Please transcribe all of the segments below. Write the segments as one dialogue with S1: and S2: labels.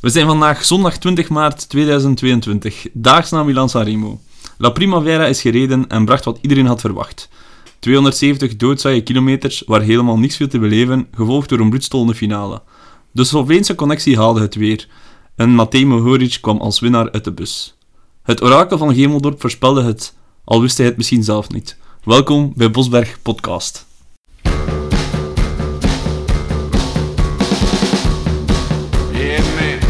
S1: We zijn vandaag zondag 20 maart 2022, daags na Milan Sanremo. La Primavera is gereden en bracht wat iedereen had verwacht. 270 doodzaaie kilometers waar helemaal niks viel te beleven, gevolgd door een bloedstollende finale. De Sloveense connectie haalde het weer en Matej Mohoric kwam als winnaar uit de bus. Het orakel van Gemeldorp voorspelde het, al wist hij het misschien zelf niet. Welkom bij Bosberg Podcast.
S2: Yeah, man.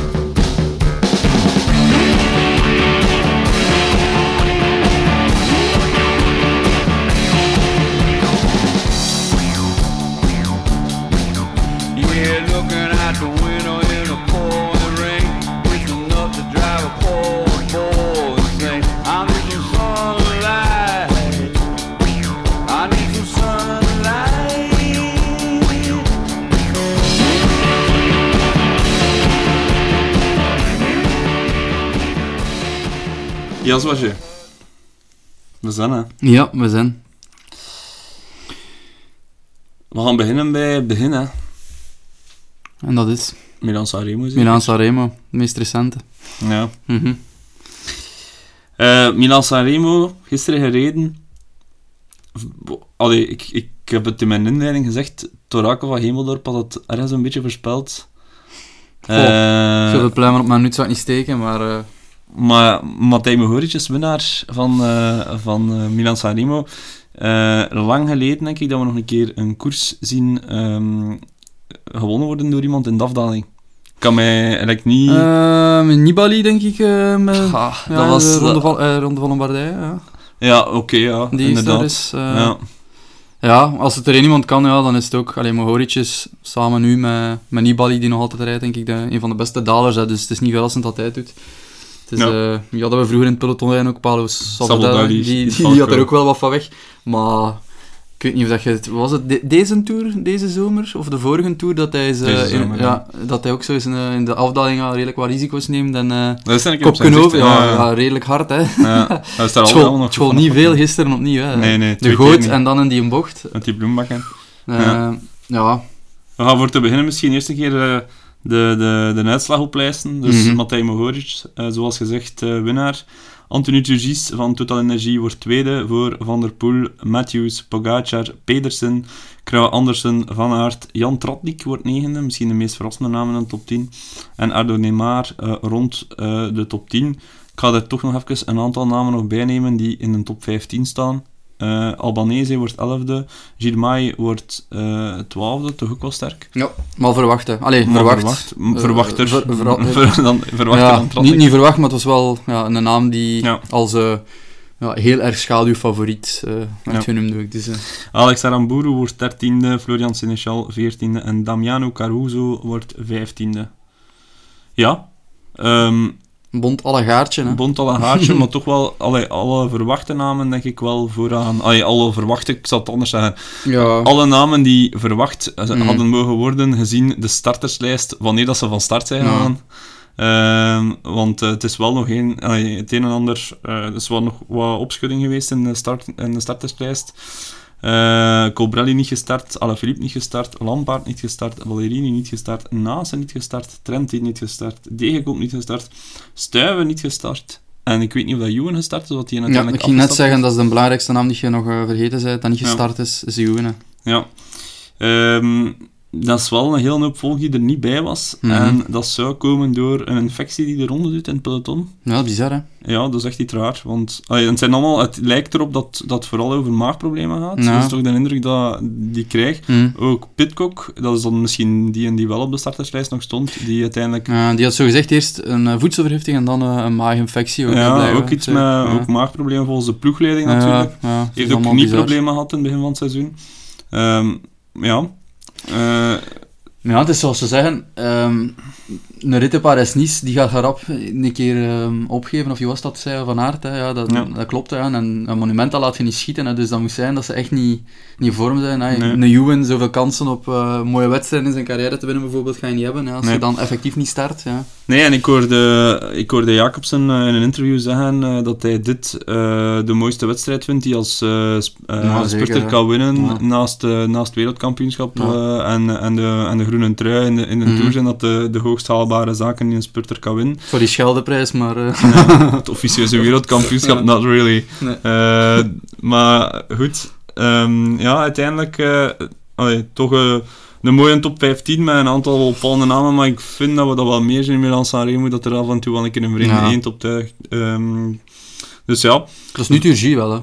S2: Yeah, looking out the window in a pouring rain, wishing up to drive a poor boy insane. I need some sunlight. I need some sunlight.
S1: Jas was je. We zijn hè.
S3: Ja, we zijn.
S1: We gaan beginnen bij het begin hè.
S3: En dat is
S1: Milan Sanremo. zeker?
S3: Milan Sanremo, het meest recente.
S1: Ja.
S3: Mhm.
S1: Eh, Milan Sanremo, gisteren gereden. V- bo- Allee, ik, ik heb het in mijn inleiding gezegd. Torako van Hemeldorp had het ergens een beetje voorspeld.
S3: Goh,
S1: Eh,
S3: Zoveel pluimen op mijn nut zou ik niet steken, maar... eh,
S1: maar Matthij Mohoric is winnaar van, eh, van eh, Milan Sanremo. Eh, lang geleden denk ik dat we nog een keer een koers zien ehm, gewonnen worden door iemand in de afdaling. Ik kan mij eigenlijk niet...
S3: eh, Nibali, denk ik, eh, met...
S1: Ah,
S3: ja,
S1: dat was...
S3: de Ronde
S1: dat-
S3: van, eh, Ronde van Lombardije, ja.
S1: Ja, oké, ja,
S3: Die is
S1: inderdaad.
S3: daar is... eh,
S1: ja.
S3: ja, als het er één iemand kan, ja, dan is het ook... Alleen Mohoric is samen nu met, met Nibali, die nog altijd rijdt, denk ik, de, een van de beste dalers. Hè, dus het is niet verrassend dat hij het doet. Het is,
S1: Ja.
S3: ja. ja, dat we vroeger in het peloton rijden ook, Paulo Sabodali,
S1: Sabodali,
S3: die, die,
S1: die
S3: die
S1: valk
S3: had er
S1: ook.
S3: ook wel wat van weg. Maar ik weet niet of dat je het... Was het de- deze tour, deze zomer, of de vorige tour, dat hij, eens, eh,
S1: Deze
S3: in-
S1: zomer, ja.
S3: ja, dat hij ook zo eens in, eh, in de afdaling al redelijk wat risico's neemt en... eh
S1: Dat is eigenlijk op zijn
S3: Kopkenoven,
S1: gezicht,
S3: ja,
S1: hè.
S3: ja, redelijk hard, hè.
S1: Ja, dat is daar allemaal
S3: Het school,
S1: nog
S3: het school
S1: van
S3: niet
S1: af.
S3: veel gisteren opnieuw, hè.
S1: Nee, nee,
S3: de
S1: twee keer
S3: goot
S1: niet.
S3: en dan in die bocht.
S1: Met die bloembakken.
S3: Eh,
S1: Ja.
S3: ja.
S1: We gaan voor te beginnen misschien eerst een keer eh, de, de, de uitslag oplijsten. Dus
S3: Mhm.
S1: Matthij Mohoric, eh, zoals gezegd, eh, winnaar. Anthony Turgis van Total Energie wordt tweede voor Van der Poel, Matthews, Pogacar, Pedersen, Krauw Andersen, Van Aert, Jan Tratnik wordt negende, misschien de meest verrassende namen in de top 10. En Ardo Neymar eh, rond eh, de top 10. Ik ga er toch nog even een aantal namen nog bij nemen die in de top 15 staan. Eh Albanese wordt 11e, Girmay wordt eh 12e, toch ook wel sterk.
S3: Maar verwacht, hè. Allee,
S1: Maar
S3: verwacht.
S1: verwacht.
S3: Eh,
S1: Verwachter.
S3: ver- vera-
S1: Ver- dan, verwachter
S3: ja,
S1: dan Trotnik.
S3: niet, niet verwacht, maar het was wel ja, een naam die
S1: Ja.
S3: als eh, ja, heel erg schaduwfavoriet eh werd
S1: Ja.
S3: genoemd ook. Dus, eh,
S1: Alex Aramburu wordt 13e, Florian Seneschal 14e en Damiano Caruso wordt 15e. Ja. Ehm
S3: bond alle gaartje, hè.
S1: bond al een haartje, maar toch wel allee, alle verwachte namen denk ik wel vooraan. Allee, alle verwachte, ik zal het anders zeggen.
S3: ja.
S1: Alle namen die verwacht eh,
S3: Mhm.
S1: hadden mogen worden gezien de starterslijst, wanneer dat ze van start zijn
S3: Ja.
S1: gegaan. Ehm, want eh, het is wel nog een, allee, het een en ander, eh er is wel nog wat opschudding geweest in de, start, in de starterslijst. Eh Colbrelli niet gestart, Alaphilippe niet gestart, Lampaard niet gestart, Valerini niet gestart, Nase niet gestart, Trenti niet gestart, Degenkoop niet gestart, Stuyven niet gestart. En ik weet niet of dat Juwen gestart is, wat die
S3: Ja,
S1: uiteindelijk
S3: ik ging net
S1: afgestapt
S3: zeggen, dat is de belangrijkste naam die je nog eh, vergeten bent, dat niet
S1: Ja.
S3: gestart is, is Juwen, hè.
S1: Ja. Ehm, dat is wel een hele hoop volk die er niet bij was.
S3: Mhm.
S1: En dat zou komen door een infectie die de ronde doet in het peloton.
S3: Ja, bizar, hè.
S1: Ja, dat is echt iets raar. Want allee, het, zijn allemaal, het lijkt erop dat dat vooral over maagproblemen gaat.
S3: Ja.
S1: Dat is toch de indruk dat die krijg.
S3: Hm.
S1: Ook Pitcock, dat is dan misschien die en die wel op de starterslijst nog stond, die uiteindelijk...
S3: Eh, die had zo gezegd eerst een eh, voedselvergifting en dan eh, een maaginfectie. Ook, hè,
S1: Ja,
S3: blijkbaar.
S1: ook iets
S3: Zo,
S1: met
S3: ja.
S1: ook maagproblemen volgens de ploegleiding
S3: Ja,
S1: natuurlijk.
S3: ja, het is
S1: heeft ook
S3: allemaal
S1: knieproblemen
S3: bizar.
S1: problemen gehad in het begin van het seizoen. Ehm, ja. Eh,
S3: Ja, het is zoals ze zeggen, ehm, een rit in Parijs-Nice, die gaat rap een keer ehm, opgeven, of wie was dat, zei Van Aert, hè? Ja, dat,
S1: Ja.
S3: dat klopt, hè. en een monument dat laat je niet schieten, hè. dus dat moet zijn dat ze echt niet, niet in vorm zijn. Hè.
S1: Nee.
S3: Een Ewan, zoveel kansen op eh, mooie wedstrijden in zijn carrière te winnen bijvoorbeeld, ga je niet hebben, hè, als
S1: Nee.
S3: je dan effectief niet start. Ja.
S1: Nee, en ik hoorde, ik hoorde Jacobsen eh, in een interview zeggen eh, dat hij dit eh, de mooiste wedstrijd vindt die als eh, sp- eh,
S3: Ja,
S1: spurter
S3: zeker,
S1: kan winnen
S3: Ja.
S1: naast, eh, naast het wereldkampioenschap
S3: Ja.
S1: eh, en, en, de, en de groene trui in de, in de
S3: Mhm.
S1: Tour zijn dat de, de hoogst haalbare zaken die een spurter kan winnen.
S3: Voor die scheldeprijs, maar... eh,
S1: het officieuze wereldkampioenschap,
S3: Ja.
S1: not really.
S3: Nee.
S1: Eh, maar goed, ehm, ja, uiteindelijk eh, allee, toch eh, een mooie top 15 met een aantal opvallende namen, maar ik vind dat we dat wel meer zien in Milan Sanremo, dat er af en toe wel een keer een vreemde
S3: Ja.
S1: eend op tuigt. Ehm, dus ja,
S3: dat is nu Turgie wel, hè.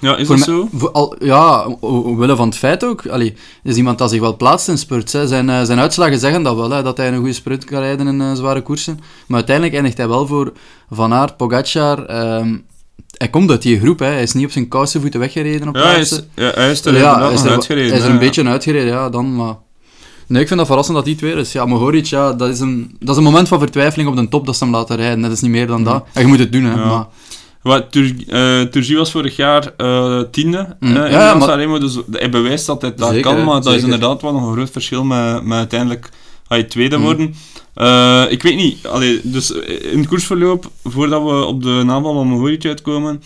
S1: ja is
S3: Voor
S1: dat
S3: mij-
S1: zo?
S3: voor al, ja, o- omwille van het feit ook. Allee, is iemand dat zich wel plaatst in spurts. Hè. Zijn, eh, zijn uitslagen zeggen dat wel, hè, dat hij een goede sprint kan rijden in eh, zware koersen. Maar uiteindelijk eindigt hij wel voor Van Aert, Pogacar. ehm, hij komt uit die groep, hè. hij is niet op zijn kousenvoeten weggereden op
S1: Ja, hij is,
S3: laatste.
S1: ja, hij is er
S3: ja,
S1: inderdaad
S3: hij is
S1: nog
S3: er,
S1: uitgereden.
S3: hij is er
S1: hè,
S3: een
S1: ja.
S3: beetje uitgereden, ja, dan, maar... Nee, ik vind dat verrassend dat die twee is. Ja, Mohoric, ja, dat, is een, dat is een moment van vertwijfeling op de top dat ze hem laten rijden. Dat is niet meer dan dat. En je moet het doen, hè.
S1: Mhm. Ja.
S3: Maar,
S1: Wat, Tur eh, Turgie was vorig jaar eh, tiende
S3: Mm.
S1: eh,
S3: Ja,
S1: in
S3: ja,
S1: Milan
S3: maar-
S1: Sanremo, dus hij bewijst dat hij dat
S3: Zeker,
S1: kan, maar dat is
S3: zeker.
S1: inderdaad wel nog een groot verschil met, met uiteindelijk hij tweede
S3: Mm.
S1: worden. Eh, ik weet niet, allee, dus in het koersverloop, voordat we op de naval van Mohoric uitkomen,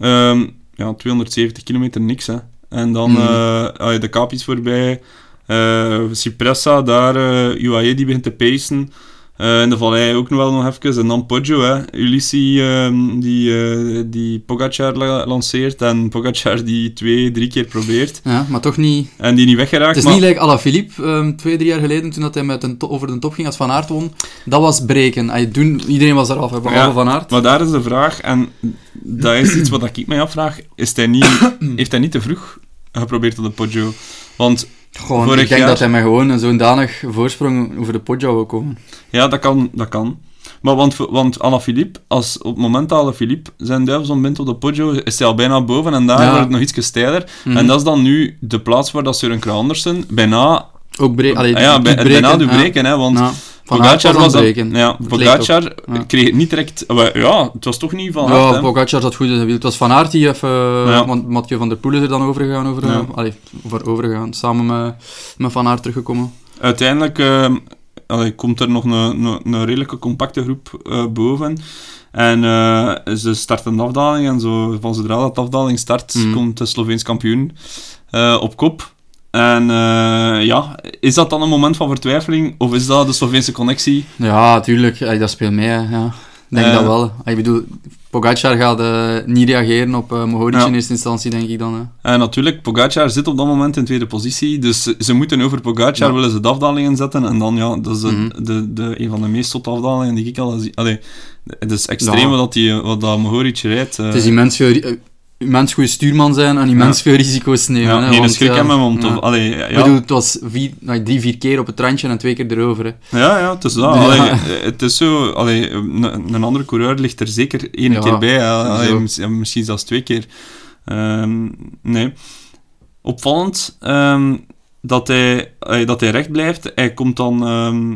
S1: ehm, ja, 270 kilometer niks hè. En dan
S3: Mm.
S1: eh, allee, de Capis voorbij, eh, Cipressa, daar eh UAE die begint te pacen. Eh, in de vallei ook nog wel nog even. En dan Poggio, hè. Ulissi ehm, die, eh, die Pogacar la- lanceert. En Pogacar die twee, drie keer probeert.
S3: ja, maar toch niet...
S1: En die niet weggeraakt.
S3: Het is
S1: maar-
S3: niet like Alaphilippe ehm twee, drie jaar geleden toen dat hij met een to- over de top ging als Van Aert won. Dat was breken. Ay, doen, iedereen was eraf, hè, behalve
S1: Ja.
S3: Van Aert.
S1: Maar daar is de vraag, en dat is iets wat ik mij afvraag, is hij niet, heeft hij niet te vroeg geprobeerd op de Poggio? Want
S3: Gewoon,
S1: Vorig
S3: ik denk
S1: jaar-
S3: dat hij met gewoon een zo'n danig voorsprong over de Poggio wil komen.
S1: Ja, dat kan. Dat kan. Maar want, want Alaphilippe, als op het moment dat Alaphilippe zijn duivels ontbindt op de Poggio, is hij al bijna boven en daar
S3: Ja.
S1: wordt het nog iets steiler.
S3: Mhm.
S1: En dat is dan nu de plaats waar dat Søren Kraal Andersen bijna,
S3: Ook bre allee,
S1: Ah ja,
S3: doet
S1: bij,
S3: breken,
S1: bijna doet
S3: ja.
S1: breken. Hè, want
S3: Ja. Van Aert
S1: Pogacar
S3: was aan
S1: was
S3: het
S1: dan,
S3: breken.
S1: ja,
S3: Het leek
S1: Pogacar
S3: ook, ja.
S1: kreeg het niet direct... wel, Ja, het was toch niet van hard,
S3: Ja,
S1: hè.
S3: Pogacar zat goed in zijn wiel. Het was Van Aert die even...
S1: Ja.
S3: Want Mathieu van der Poel is er dan overgegaan. Over,
S1: Ja.
S3: allee, voor overgegaan. Samen met, met Van Aert teruggekomen.
S1: Uiteindelijk ehm, allee, komt er nog een, een, een redelijke compacte groep eh, boven. En eh, ze starten de afdaling. En zo, van zodra dat de afdaling start,
S3: Mhm.
S1: komt de Sloveens kampioen eh, op kop. En eh, ja, is dat dan een moment van vertwijfeling? Of is dat de Sloveense connectie?
S3: Ja, tuurlijk. Ay, dat speelt mee. hè, Ja. Ik denk
S1: Eh.
S3: dat wel. Ay, ik bedoel, Pogacar gaat eh, niet reageren op eh Mohoric
S1: Ja.
S3: in eerste instantie, denk ik dan. Hè.
S1: En Eh, natuurlijk, Pogacar zit op dat moment in tweede positie. Dus ze- ze moeten over Pogacar
S3: Ja.
S1: willen ze de afdalingen zetten. En dan, ja, dat is de,
S3: Mhm.
S1: de, de, een van de meest zotte afdalingen die ik al zie. Allee, het is extreem
S3: Ja.
S1: wat dat die, wat dat Mohoric rijdt. eh.
S3: Het is immens veel... ri- eh, Immens goede stuurman zijn en immens veel risico's nemen.
S1: Ja,
S3: hè,
S1: geen
S3: want,
S1: schrik
S3: ja,
S1: hebben, want...
S3: ja.
S1: Of, allee, ja,
S3: Ik bedoel, het was vier, nou, drie, vier keer op het randje en twee keer erover. Hè.
S1: ja, ja, het is dat.
S3: Ja.
S1: Allee, het is zo... Allee, een, een andere coureur ligt er zeker één
S3: Ja,
S1: keer bij. hè. Allee,
S3: sowieso.
S1: mis- ja, misschien zelfs twee keer. Ehm, nee. Opvallend ehm, dat, hij, allee, dat hij recht blijft. Hij komt dan... ehm,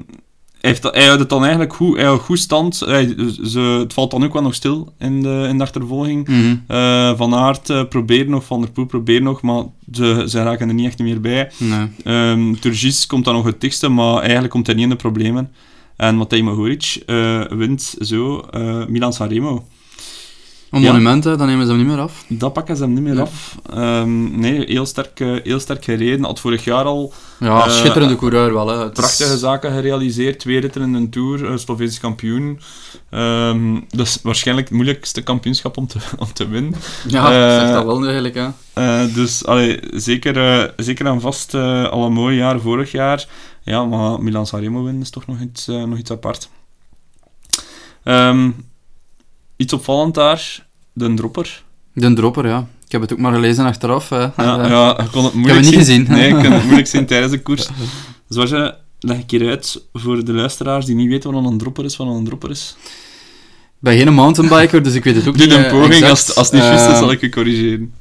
S1: hij, heeft, dat- hij houdt het dan eigenlijk goed, hij houdt goed stand. Hij- ze, het valt dan ook wel nog stil in de, in de achtervolging.
S3: Mhm.
S1: Eh, van Aert eh, probeert nog, Van der Poel probeert nog, maar ze, ze raken er niet echt meer bij.
S3: Nee.
S1: Ehm Turgis komt dan nog het dichtste, maar eigenlijk komt hij niet in de problemen. En Matej Mohoric eh, wint zo eh Milan Sanremo.
S3: Een
S1: Ja.
S3: monument, hè, dan nemen ze hem niet meer af.
S1: Dat pakken ze hem niet meer
S3: Ja.
S1: af. Ehm, nee, heel sterk, eh, heel sterk gereden. Had vorig jaar al
S3: Ja,
S1: Eh,
S3: schitterende coureur wel. Hè. Het is-
S1: prachtige zaken gerealiseerd. Twee ritten in een Tour, eh, Sloveens kampioen. Ehm, dat is waarschijnlijk het moeilijkste kampioenschap om te, om te winnen.
S3: Ja,
S1: eh,
S3: zegt dat wel eigenlijk. Hè.
S1: Eh, dus allee, zeker, eh, zeker en vast eh, al een mooi jaar vorig jaar. Ja, maar Milan Sanremo winnen is toch nog iets, eh, nog iets apart. Ehm, iets opvallend daar, de dropper.
S3: De dropper, ja. Ik heb het ook maar gelezen achteraf. Hè.
S1: Ja,
S3: Eh,
S1: ja, ik kon het
S3: heb
S1: moeilijk
S3: het niet
S1: zien.
S3: gezien.
S1: Nee, ik kon het moeilijk zien tijdens de koers. Zoals je, leg ik hier uit voor de luisteraars die niet weten wat een dropper is, wat een dropper is.
S3: Ik ben geen mountainbiker, dus ik weet het ook
S1: Doe
S3: niet.
S1: een
S3: eh,
S1: poging,
S3: exact.
S1: als, het- als het niet juist is,
S3: Eh,
S1: zal ik je corrigeren.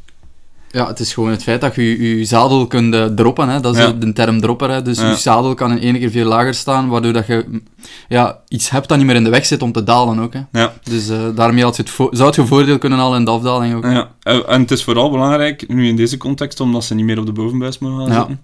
S3: Ja, het is gewoon het feit dat je je zadel kunt eh, droppen. Hè. Dat is
S1: Ja.
S3: de term dropper. Hè. Dus
S1: Ja.
S3: je zadel kan in één keer veel lager staan, waardoor dat je m- ja, iets hebt dat niet meer in de weg zit om te dalen ook. Hè.
S1: Ja.
S3: Dus eh, daarmee had je het vo- zou je voordeel kunnen halen in de afdaling ook.
S1: Ja, eh, en het is vooral belangrijk, nu in deze context, omdat ze niet meer op de bovenbuis mogen gaan
S3: Ja.
S1: zitten.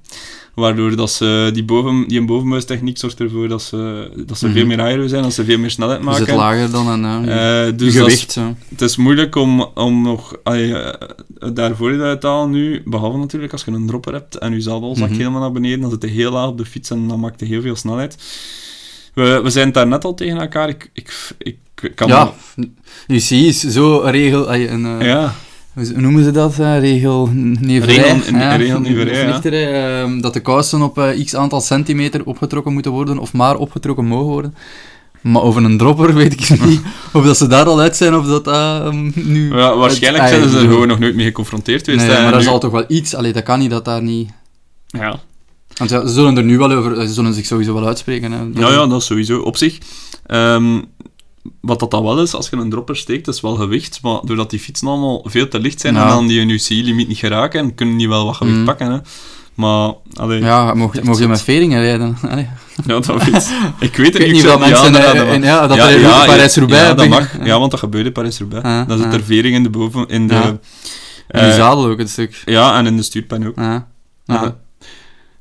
S1: Waardoor dat ze die, boven, die bovenbuistechniek zorgt ervoor dat ze, dat
S3: Mhm.
S1: ze veel meer aero zijn, dat ze veel meer snelheid
S3: Je
S1: maken.
S3: zit Dus lager dan een eh,
S1: Eh, dus dat is-
S3: gewicht. zo.
S1: het is moeilijk om, om nog allee, eh, daar voordeel uit te halen nu. Behalve natuurlijk als je een dropper hebt en je zadelzak
S3: Mhm.
S1: helemaal naar beneden, dan zit je heel laag op de fiets en dan maakt je heel veel snelheid. We, we zijn het daar net al tegen elkaar. Ik, ik, ik, kan
S3: Ja, UCI is zo een regel... ay, een, eh,
S1: ja.
S3: Hoe z- hoe noemen ze dat? eh, regel neverij. ehm,
S1: Regel- regel neverij, ja.
S3: dat de kousen op eh, x aantal centimeter opgetrokken moeten worden, of maar opgetrokken mogen worden. Maar over een dropper weet ik niet of dat ze daar al uit zijn, of dat dat ehm, nu...
S1: Ja, waarschijnlijk
S3: het-
S1: zijn ze er
S3: ay,
S1: gewoon nog nooit mee geconfronteerd geweest.
S3: Nee,
S1: hè,
S3: maar
S1: en
S3: daar
S1: nu-
S3: zal toch wel iets... Allee, dat kan niet, dat daar niet...
S1: ja.
S3: Want ja, ze zullen er nu wel over... Ze zullen zich sowieso wel uitspreken. Hè.
S1: Ja, ja, dat sowieso. Op zich, ehm, wat dat dan wel is, als je een dropper steekt, dat is wel gewicht, maar doordat die fietsen allemaal veel te licht zijn
S3: Ja.
S1: en dan die hun UCI-limiet niet geraken, en kunnen die wel wat gewicht
S3: Mhm.
S1: pakken, hè. Maar, allee, ja.
S3: Ja, mogen mogen je met veringen rijden? Allee.
S1: dat weet ik. weet
S3: Ik
S1: het
S3: weet
S1: niet,
S3: niet
S1: ik
S3: of dat
S1: zou het
S3: mensen...
S1: niet aanraden,
S3: eh,
S1: maar-
S3: in- ja, dat
S1: ja,
S3: er
S1: ja,
S3: Parijs-Roubaix...
S1: Ja, dat
S3: beginnen.
S1: mag. Ja, want dat gebeurde Parijs-Roubaix.
S3: Ah,
S1: dan zit
S3: ah.
S1: er vering in de boven... In de,
S3: Ja. En
S1: eh,
S3: die zadel ook een stuk.
S1: ja, en in de stuurpen ook.
S3: Ja.
S1: Ja.
S3: Ja.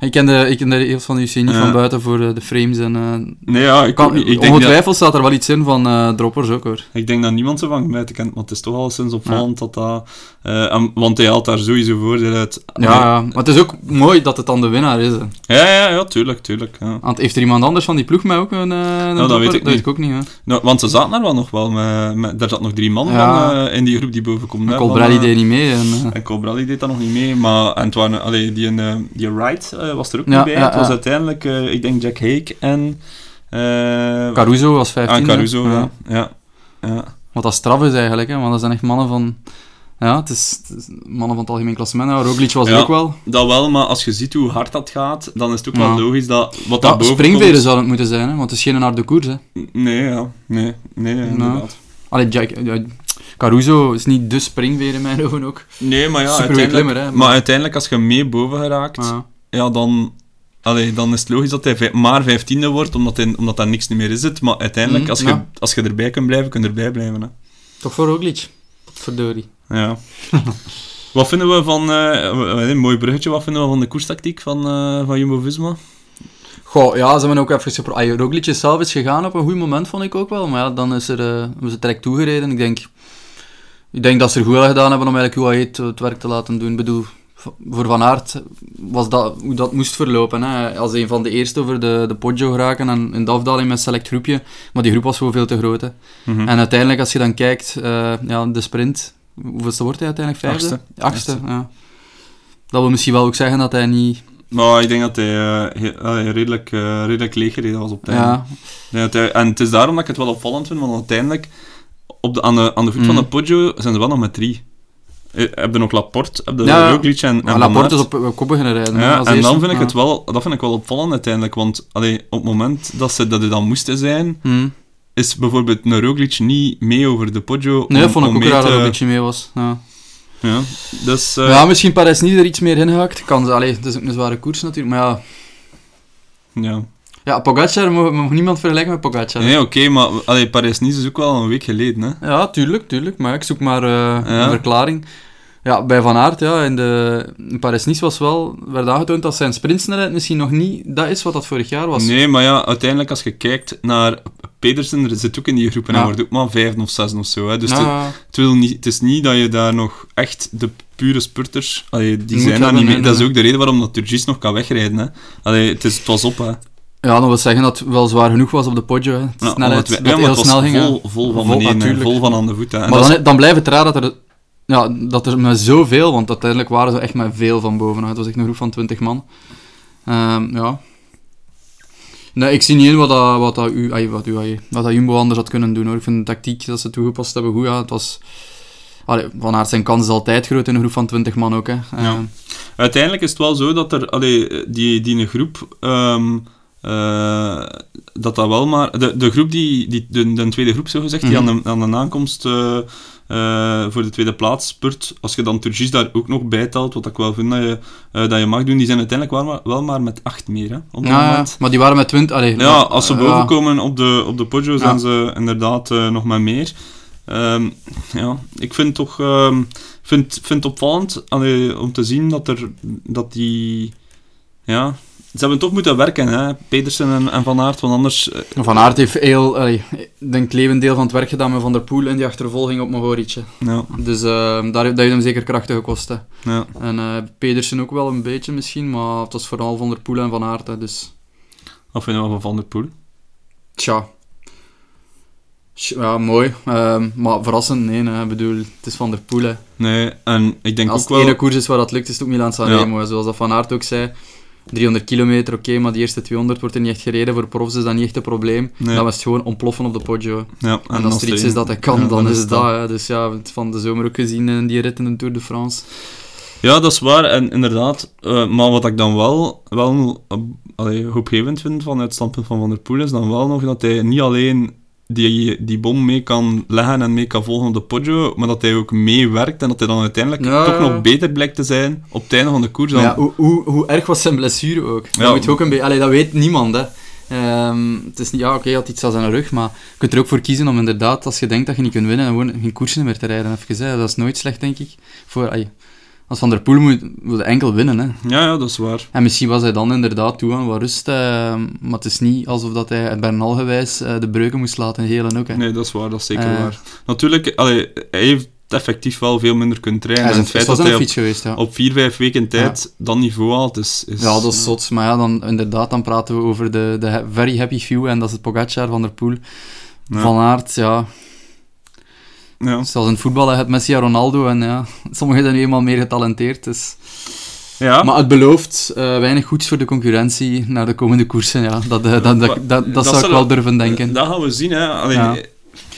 S3: Ik ken de, ik ken de regels van de UC niet
S1: Ja.
S3: van buiten voor eh, de frames en... eh
S1: Nee, ja, ik, ook
S3: kan,
S1: niet. ik, denk dat,
S3: ongetwijfeld staat er wel iets in van eh, droppers ook hoor.
S1: ik denk dat niemand ze van gemeten kent, maar het is toch al sinds opvallend dat dat... eh, en- want hij haalt daar sowieso voordeel uit.
S3: Ja, ja, maar het is ook mooi dat het dan de winnaar is. hè.
S1: Ja, ja, ja, tuurlijk, tuurlijk. Ja.
S3: Want heeft er iemand anders van die ploeg mij ook een, eh, een
S1: dat
S3: dropper?
S1: weet ik
S3: dat weet
S1: niet.
S3: ik ook niet. Hè.
S1: Nou, want ze zaten er wel nog wel. Met, met, daar zat nog drie man
S3: Ja.
S1: van, eh, in die groep die boven komt. hè,
S3: Cole
S1: van,
S3: Bradley
S1: eh,
S3: deed niet mee. En, eh,
S1: En Colbrelli deed dat nog niet mee. Maar en het waren, allee, die, eh, die Wright eh, was er ook
S3: Ja,
S1: niet bij.
S3: ja,
S1: het was
S3: ja.
S1: uiteindelijk, eh, ik denk, Jack Hake en... eh,
S3: Caruso was 15.
S1: en
S3: hè.
S1: Caruso, ja. ja. ja.
S3: Wat dat straf is eigenlijk, hè, want dat zijn echt mannen van... Ja, het is, het is mannen van het algemeen klassement. hè. Roglic was er
S1: Ja.
S3: ook wel.
S1: Dat wel, maar als je ziet hoe hard dat gaat, dan is het ook
S3: Ja.
S1: wel logisch dat wat
S3: Ja,
S1: daar boven
S3: springveren zou het moeten zijn, hè, want het is geen harde koers. Hè.
S1: komt... Nee, ja. Nee, nee,
S3: Nou.
S1: ja, inderdaad.
S3: Allee, Jack, ja, Caruso is niet de springveer in mijn ogen ook.
S1: Nee, maar ja,
S3: Supergoeie
S1: uiteindelijk...
S3: klimmer, hè, maar- Ah.
S1: maar uiteindelijk, als je mee boven geraakt...
S3: Ja.
S1: ja, dan, allee, dan is het logisch dat hij vij- maar vijftiende wordt, omdat, hij, omdat daar niks niet meer is. Het. Maar uiteindelijk,
S3: Mhm,
S1: als, je,
S3: ja.
S1: als je erbij kunt blijven, kun je erbij blijven. Hè.
S3: Toch voor Roglic? Verdorie.
S1: Ja. wat vinden we van... eh, w- eh, mooi bruggetje. Wat vinden we van de koerstactiek van, eh, van Jumbo-Visma?
S3: Goh, ja, ze hebben ook even gepro- Ah, Roglic is zelf is gegaan op een goed moment, vond ik ook wel. Maar ja, dan is er, eh, hebben ze direct toegereden. Ik denk, ik denk dat ze er goed aan gedaan hebben om eigenlijk UAE het, het werk te laten doen. Ik bedoel, v- voor Van Aert was dat hoe dat moest verlopen. Hè. Als een van de eerste over de, de Poggio geraken en in de afdaling met select groepje. Maar die groep was gewoon veel te groot. Hè.
S1: Mhm.
S3: En uiteindelijk, als je dan kijkt, eh, ja, de sprint, hoeveelste wordt hij uiteindelijk? Vijfde?
S1: Achtste.
S3: Achtste, ja. Dat wil misschien wel ook zeggen dat hij niet...
S1: Maar ik denk dat hij eh, he- allee, redelijk, eh, redelijk leeggereden was op het einde.
S3: Ja,
S1: Ik denk dat hij- En het is daarom dat ik het wel opvallend vind, want uiteindelijk, op de, aan, de, aan de voet
S3: Mhm.
S1: van de Poggio, zijn ze wel nog met drie. Eh, Heb je nog Laporte, heb je
S3: Ja,
S1: Roglic en, en
S3: maar
S1: Van
S3: Laporte
S1: Aert.
S3: is op, op kop beginnen rijden. hè,
S1: Ja,
S3: als
S1: en
S3: eerste.
S1: dan vind ik
S3: Ja.
S1: het wel, dat vind ik wel opvallend uiteindelijk, want allee, op het moment dat ze dat er dan moesten zijn,
S3: Hmm.
S1: is bijvoorbeeld een Roglic niet mee over de Poggio.
S3: Nee,
S1: om-
S3: vond ik
S1: om
S3: ook
S1: mee
S3: raar
S1: te-
S3: dat Roglic niet mee was. Ja,
S1: Ja, dus, eh,
S3: ja misschien Parijs niet er iets meer in gehakt. Kan, ze- allee, het is ook een zware koers natuurlijk, maar ja...
S1: ja.
S3: Ja, Pogacar mag, mag niemand vergelijken met Pogacar.
S1: Nee, oké, maar allee, Parijs-Nice is ook wel een week geleden, hè.
S3: Ja, tuurlijk, tuurlijk. Maar ik zoek maar eh,
S1: Ja.
S3: een verklaring. Ja, bij Van Aert, ja, in, de, in Paris-Nice was wel, werd aangetoond dat zijn sprintsnelheid misschien nog niet dat is wat dat vorig jaar was.
S1: Nee, maar ja, uiteindelijk als je kijkt naar Pedersen, er zit ook in die groep en
S3: Ja.
S1: hij wordt ook maar vijfde of zesde of zo, hè. Dus het,
S3: ja,
S1: het wil niet, het is niet dat je daar nog echt de pure spurters, allee, die
S3: Moet
S1: zijn daar
S3: hebben,
S1: niet mee.
S3: nee,
S1: Dat is
S3: nee.
S1: ook de reden waarom dat Turgis nog kan wegrijden, hè. Allee, het, is, het was op, hè.
S3: ja, dat wil zeggen dat het wel zwaar genoeg was op de podio. Hè. De
S1: Ja,
S3: snelheid,
S1: Nou, omdat wij-
S3: dat
S1: ja, maar
S3: heel
S1: het
S3: snel
S1: was
S3: ging. hè.
S1: Vol, vol van
S3: Vol,
S1: beneden, hè,
S3: natuurlijk.
S1: vol van aan de voeten. hè. En
S3: Maar
S1: dat
S3: dan, dan blijft het raar dat er, ja, dat er met zoveel, want uiteindelijk waren ze echt met veel van bovenuit. Het was echt een groep van 20 man. Ehm, ja. Nee, ik zie niet in wat, dat, wat, dat, U, ai, wat, UAE, wat dat Jumbo anders had kunnen doen. Hoor. Ik vind de tactiek dat ze toegepast hebben goed. Ja, het was, allee, van Aert zijn kans is altijd groot in een groep van 20 man ook. Hè. Ehm,
S1: Uiteindelijk is het wel zo dat er, allee, die, die groep ehm, eh, dat dat wel maar... De, de groep die... die de, de tweede groep, zo gezegd, die aan de, aan de aankomst eh, eh, voor de tweede plaats spurt, als je dan Turgis daar ook nog bij telt, wat ik wel vind dat je, eh, dat je mag doen, die zijn uiteindelijk wel maar, wel maar met acht meer, hè, op dat
S3: Ah, Ja, ja,
S1: moment.
S3: maar die waren met 20. Allee,
S1: Ja, als ze
S3: eh,
S1: boven
S3: ja.
S1: komen op de, op de Poggio, zijn
S3: Ja.
S1: ze inderdaad eh, nog maar meer. Ehm, ja, ik vind toch ehm, vind, vind het opvallend allee, om te zien dat er dat die. Ja, ze hebben toch moeten werken, hè? Pedersen en, en Van Aert, want anders. eh,
S3: Van Aert heeft heel, allee, ik denk levendeel van het werk gedaan met Van der Poel in die achtervolging op Mogoritje.
S1: ja,
S3: Dus eh, daar, dat heeft hem zeker krachten gekost. Hè.
S1: ja.
S3: En eh, Pedersen ook wel een beetje misschien, maar het was vooral Van der Poel en Van Aert. hè, dus
S1: Of vinden we van Van der Poel?
S3: tja. Tj- Ja, mooi. Ehm, maar verrassend, nee. hè. Ik bedoel, het is Van der Poel. hè.
S1: Nee, en ik denk
S3: Als
S1: ook
S3: het
S1: wel.
S3: ene koers is waar dat lukt, is het ook Milaan San
S1: Ja.
S3: Remo. hè. Zoals dat Van Aert ook zei, 300 kilometer, oké, maar die eerste 200 wordt er niet echt gereden. Voor profs is dat niet echt een probleem.
S1: Nee.
S3: Dan was het gewoon ontploffen op de Poggio.
S1: ja,
S3: En, als er iets
S1: één-
S3: is dat hij kan,
S1: ja,
S3: dan is het dat.
S1: dat.
S3: hè. Dus ja, we hebben het van de zomer ook gezien in die rit in de Tour de France.
S1: Ja, dat is waar, en inderdaad. eh, maar wat ik dan wel, wel eh, allee, hoopgevend vind vanuit het standpunt van Van der Poel, is dan wel nog dat hij niet alleen die, die bom mee kan leggen en mee kan volgen op de Poggio, maar dat hij ook meewerkt en dat hij dan uiteindelijk
S3: Ja,
S1: toch
S3: ja.
S1: nog beter blijkt te zijn op het einde van de koers. Dan,
S3: Maar ja, hoe, hoe, hoe erg was zijn blessure ook?
S1: Ja.
S3: Dat, moet je ook een beetje- allee, dat weet niemand, hè. Ehm, het is niet, ja, oké, hij had iets aan zijn rug, maar je kunt er ook voor kiezen om inderdaad, als je denkt dat je niet kunt winnen, gewoon geen koersen meer te rijden. Even, hè. Dat is nooit slecht, denk ik. Voor, allee, als Van der Poel moet, wil hij enkel winnen, hè.
S1: ja, ja, dat is waar.
S3: En misschien was hij dan inderdaad toe aan wat rust, ehm, maar het is niet alsof dat hij Bernal gewijs eh, de breuken moest laten helen ook, hè.
S1: Nee, dat is waar, dat is zeker
S3: Eh.
S1: waar. Natuurlijk, allee, hij heeft effectief wel veel minder kunnen trainen.
S3: hij is
S1: en
S3: een,
S1: het feit dat
S3: was aan
S1: hij
S3: de
S1: op,
S3: fiets geweest, ja.
S1: op vier, vijf weken tijd dat niveau haalt, is... is
S3: Ja, dat is zot. Maar ja, dan, inderdaad, dan praten we over de, de ha- very happy few. En dat is het Pogacar, Van der Poel,
S1: Ja.
S3: Van Aert, ja.
S1: ja.
S3: Zoals in het voetballen heb Messi en Ronaldo. En ja, sommigen zijn nu eenmaal meer getalenteerd. Dus.
S1: Ja.
S3: Maar het belooft eh, weinig goeds voor de concurrentie naar de komende koersen. Ja. Dat, eh, dat, dat,
S1: Maar
S3: dat, dat
S1: dat
S3: zou ik
S1: zullen-
S3: wel durven denken.
S1: Dat gaan we zien, hè. Allee,
S3: Ja.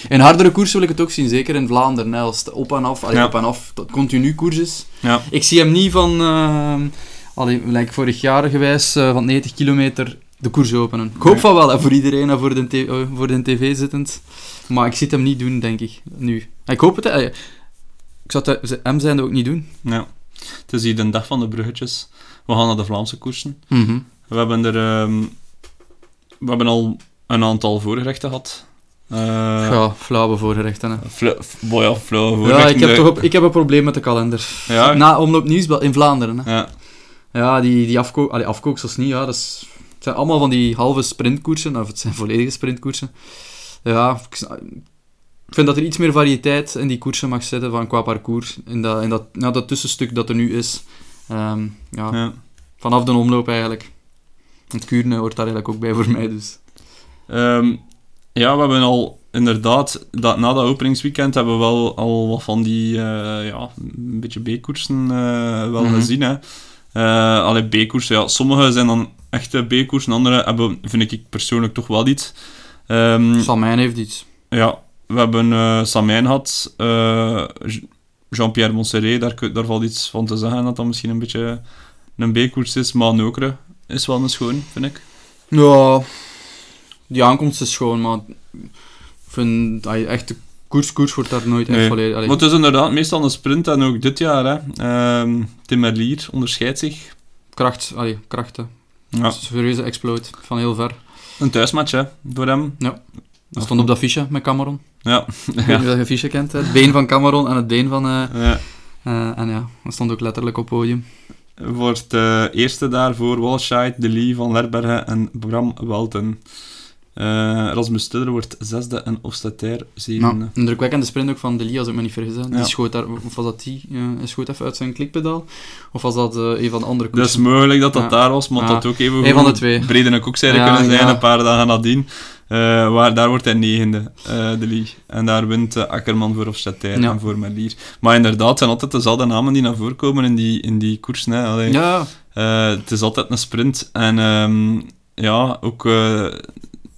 S3: In hardere koersen wil ik het ook zien, zeker in Vlaanderen. Hè, als het op en af, allee,
S1: Ja.
S3: op en af, dat continu koers is.
S1: ja.
S3: Ik zie hem niet van, ehm allee, like vorig jaar gewijs, eh, van 90 kilometer de koers openen. Ik hoop
S1: Nee.
S3: van wel, hè, voor iedereen en voor de, t- eh, voor de tv zittend. Maar ik zie het hem niet doen, denk ik, nu. Ik hoop het, eh, ik zou het eh, hem zijn ook niet doen.
S1: Ja, het is hier de dag van de bruggetjes. We gaan naar de Vlaamse koersen. We hebben er... ehm, we hebben al een aantal voorgerechten gehad. Eh
S3: Ja, flauwe voorgerechten. Hè.
S1: fla- f- boy, ja, flauwe
S3: Ja,
S1: voorgerechten.
S3: ik heb,
S1: de-
S3: toch op, ik heb een probleem met de kalender.
S1: Ja.
S3: Na Omloop Nieuwsblad in Vlaanderen. Hè.
S1: Ja,
S3: Ja, die, die afko allee, afkooksels niet, ja. Dat is, het zijn allemaal van die halve sprintkoersen, of het zijn volledige sprintkoersen. Ja, ik, sna- ik vind dat er iets meer variëteit in die koersen mag zitten van qua parcours. In dat, in dat, nou, dat tussenstuk dat er nu is. Ehm, ja,
S1: ja.
S3: Vanaf de omloop eigenlijk. Het Kuurne hoort daar eigenlijk ook bij voor mij, dus.
S1: Ehm, ja, we hebben al inderdaad, dat, na dat openingsweekend hebben we wel al wat van die, eh, ja, een beetje B-koersen eh, wel
S3: Mhm.
S1: gezien. Hè. Eh allee, B-koersen, ja, sommige zijn dan echte B-koersen, andere hebben, vind ik persoonlijk toch wel iets. Ehm,
S3: Salmijn heeft iets.
S1: ja, we hebben eh Samijn gehad, eh, J- Jean-Pierre Montserrat, daar, kun- daar valt iets van te zeggen dat dat misschien een beetje een B-koers is, maar Nokere is wel een schoon, vind ik.
S3: Ja, die aankomst is schoon, maar ik vind allee, echt de koers, koers wordt daar nooit echt
S1: Nee.
S3: volledig... allee.
S1: Maar het is inderdaad meestal een sprint en ook dit jaar. Hè. Ehm, Tim Merlier onderscheidt zich.
S3: kracht, allee, krachten.
S1: Ja.
S3: Het is een serieuze exploit van heel ver.
S1: Een thuismatch hè, voor hem.
S3: Dat stond op dat fiche met Cameron.
S1: Ja.
S3: Ik weet niet of je fiche kent. hè. Het been van Cameron en het been van... eh,
S1: Eh,
S3: eh, en ja, dat stond ook letterlijk op podium.
S1: voor het eh, eerste daarvoor Walscheid, De Lee van Lerbergen en Bram Welten. Eh, Rasmus Tudder wordt zesde en Hofstadter zevende.
S3: Ja, indrukwekkende sprint ook van De Lee, als ik me niet vergis. hè. Die
S1: Ja.
S3: schoot daar... Of was dat die? eh, hij schoot even uit zijn klikpedaal. Of was dat eh, een van de andere
S1: Dus
S3: koersen?
S1: mogelijk dat dat
S3: Ja.
S1: daar was, maar
S3: Ja.
S1: dat ook even
S3: Eén van de twee.
S1: Bredene Koekzijde
S3: Ja,
S1: kunnen zijn
S3: ja.
S1: een paar dagen nadien. Eh, waar, daar wordt hij negende, eh, de league. En daar wint eh, Akkerman voor Hofstadter
S3: Ja.
S1: en voor Melier. Maar inderdaad, het zijn altijd dezelfde namen die naar voren komen in die, in die koersen. Hè. Allee,
S3: Ja,
S1: eh, het is altijd een sprint. En ehm, ja, ook eh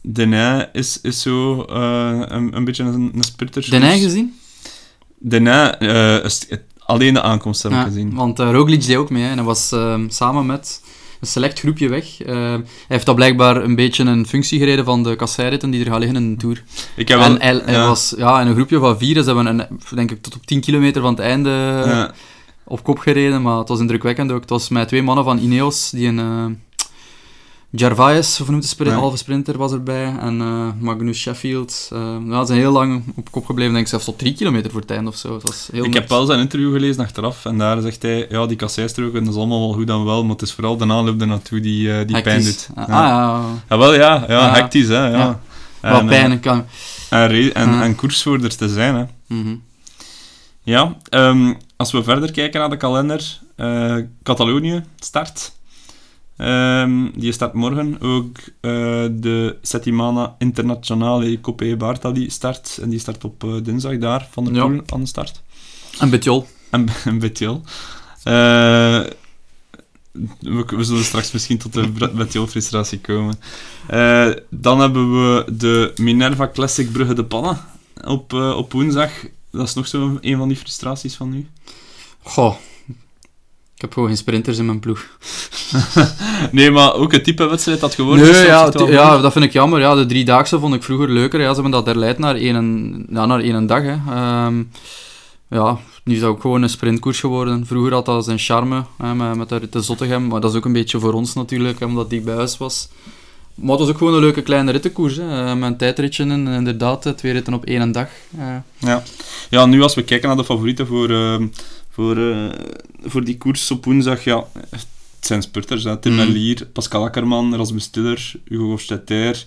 S1: Denain is, is zo eh, een, een beetje een, een sprinter. Dus
S3: Den Heij gezien?
S1: Denain, eh, is- alleen de aankomst heb ik
S3: Ja,
S1: gezien.
S3: Want eh, Roglic deed ook mee. hè. En hij was ehm, samen met... een select groepje weg. Eh, hij heeft dat blijkbaar een beetje een functie gereden van de kasseiritten die er gaan liggen in de Tour.
S1: Ik heb
S3: en
S1: wel-
S3: hij, hij
S1: ja,
S3: was ja, in een groepje van vier, dus ze hebben een, denk ik tot op 10 kilometer van het einde
S1: ja.
S3: op kop gereden, maar het was indrukwekkend ook. Het was met twee mannen van Ineos, die een eh Gervais, of noemt de sprint,
S1: Ja.
S3: halve sprinter was erbij, en eh, Magnus Sheffield. Eh, ja, ze zijn heel lang op kop gebleven, denk ik zelfs tot drie kilometer voor het einde of zo. Het was heel
S1: Ik
S3: niks.
S1: heb wel zijn interview gelezen achteraf en daar zegt hij, ja, die kasseistroken, dat is allemaal wel goed dan wel, maar het is vooral de aanloop ernaartoe die, eh, die pijn
S3: Hectisch.
S1: doet.
S3: Ah ja,
S1: Jawel, ja, ja,
S3: Ja.
S1: hectisch, hè. Ja.
S3: Ja.
S1: En,
S3: wat
S1: eh,
S3: pijn. Ah. ik Kan...
S1: En, re- en,
S3: Ja.
S1: en koersvoerders te zijn, hè.
S3: Mhm.
S1: Ja, ehm, als we verder kijken naar de kalender, eh, Catalonië start. Ehm, die start morgen. Ook eh, de Settimana Internationale Coppe Bartali start. En die start op eh, dinsdag daar, Van der
S3: Ja.
S1: Poel aan de start.
S3: En Betjol.
S1: En, en Betjol. Eh, we, we zullen straks misschien tot de Bra- Betjol-frustratie komen. Eh, dan hebben we de Minerva Classic Brugge de Pannen op, eh, op woensdag. Dat is nog zo een van die frustraties van nu.
S3: Goh. Ik heb gewoon geen sprinters in mijn ploeg.
S1: Nee, maar ook het type wedstrijd dat geworden is.
S3: Nee,
S1: dat
S3: ja,
S1: zit wel
S3: het-
S1: goed.
S3: ja, dat vind ik jammer. Ja, de driedaagse vond ik vroeger leuker. Ja, ze hebben dat herleid naar één, ja, naar één dag. Hè. Ehm, ja, nu is dat ook gewoon een sprintkoers geworden. Vroeger had dat zijn charme hè, met, met de Rutte Zottegem. Maar dat is ook een beetje voor ons natuurlijk, hè, omdat die bij huis was. Maar het was ook gewoon een leuke kleine rittenkoers. Hè. Eh, Met een tijdritje en inderdaad, eh, twee ritten op één dag. Eh,
S1: Ja, nu als we kijken naar de favorieten voor, ehm, voor, eh, voor die koers op woensdag, ja, het zijn spurters. Hè. Tim
S3: Mm.
S1: Merlier, Pascal Akkerman, Rasmus Stiller, Hugo Hofstetter,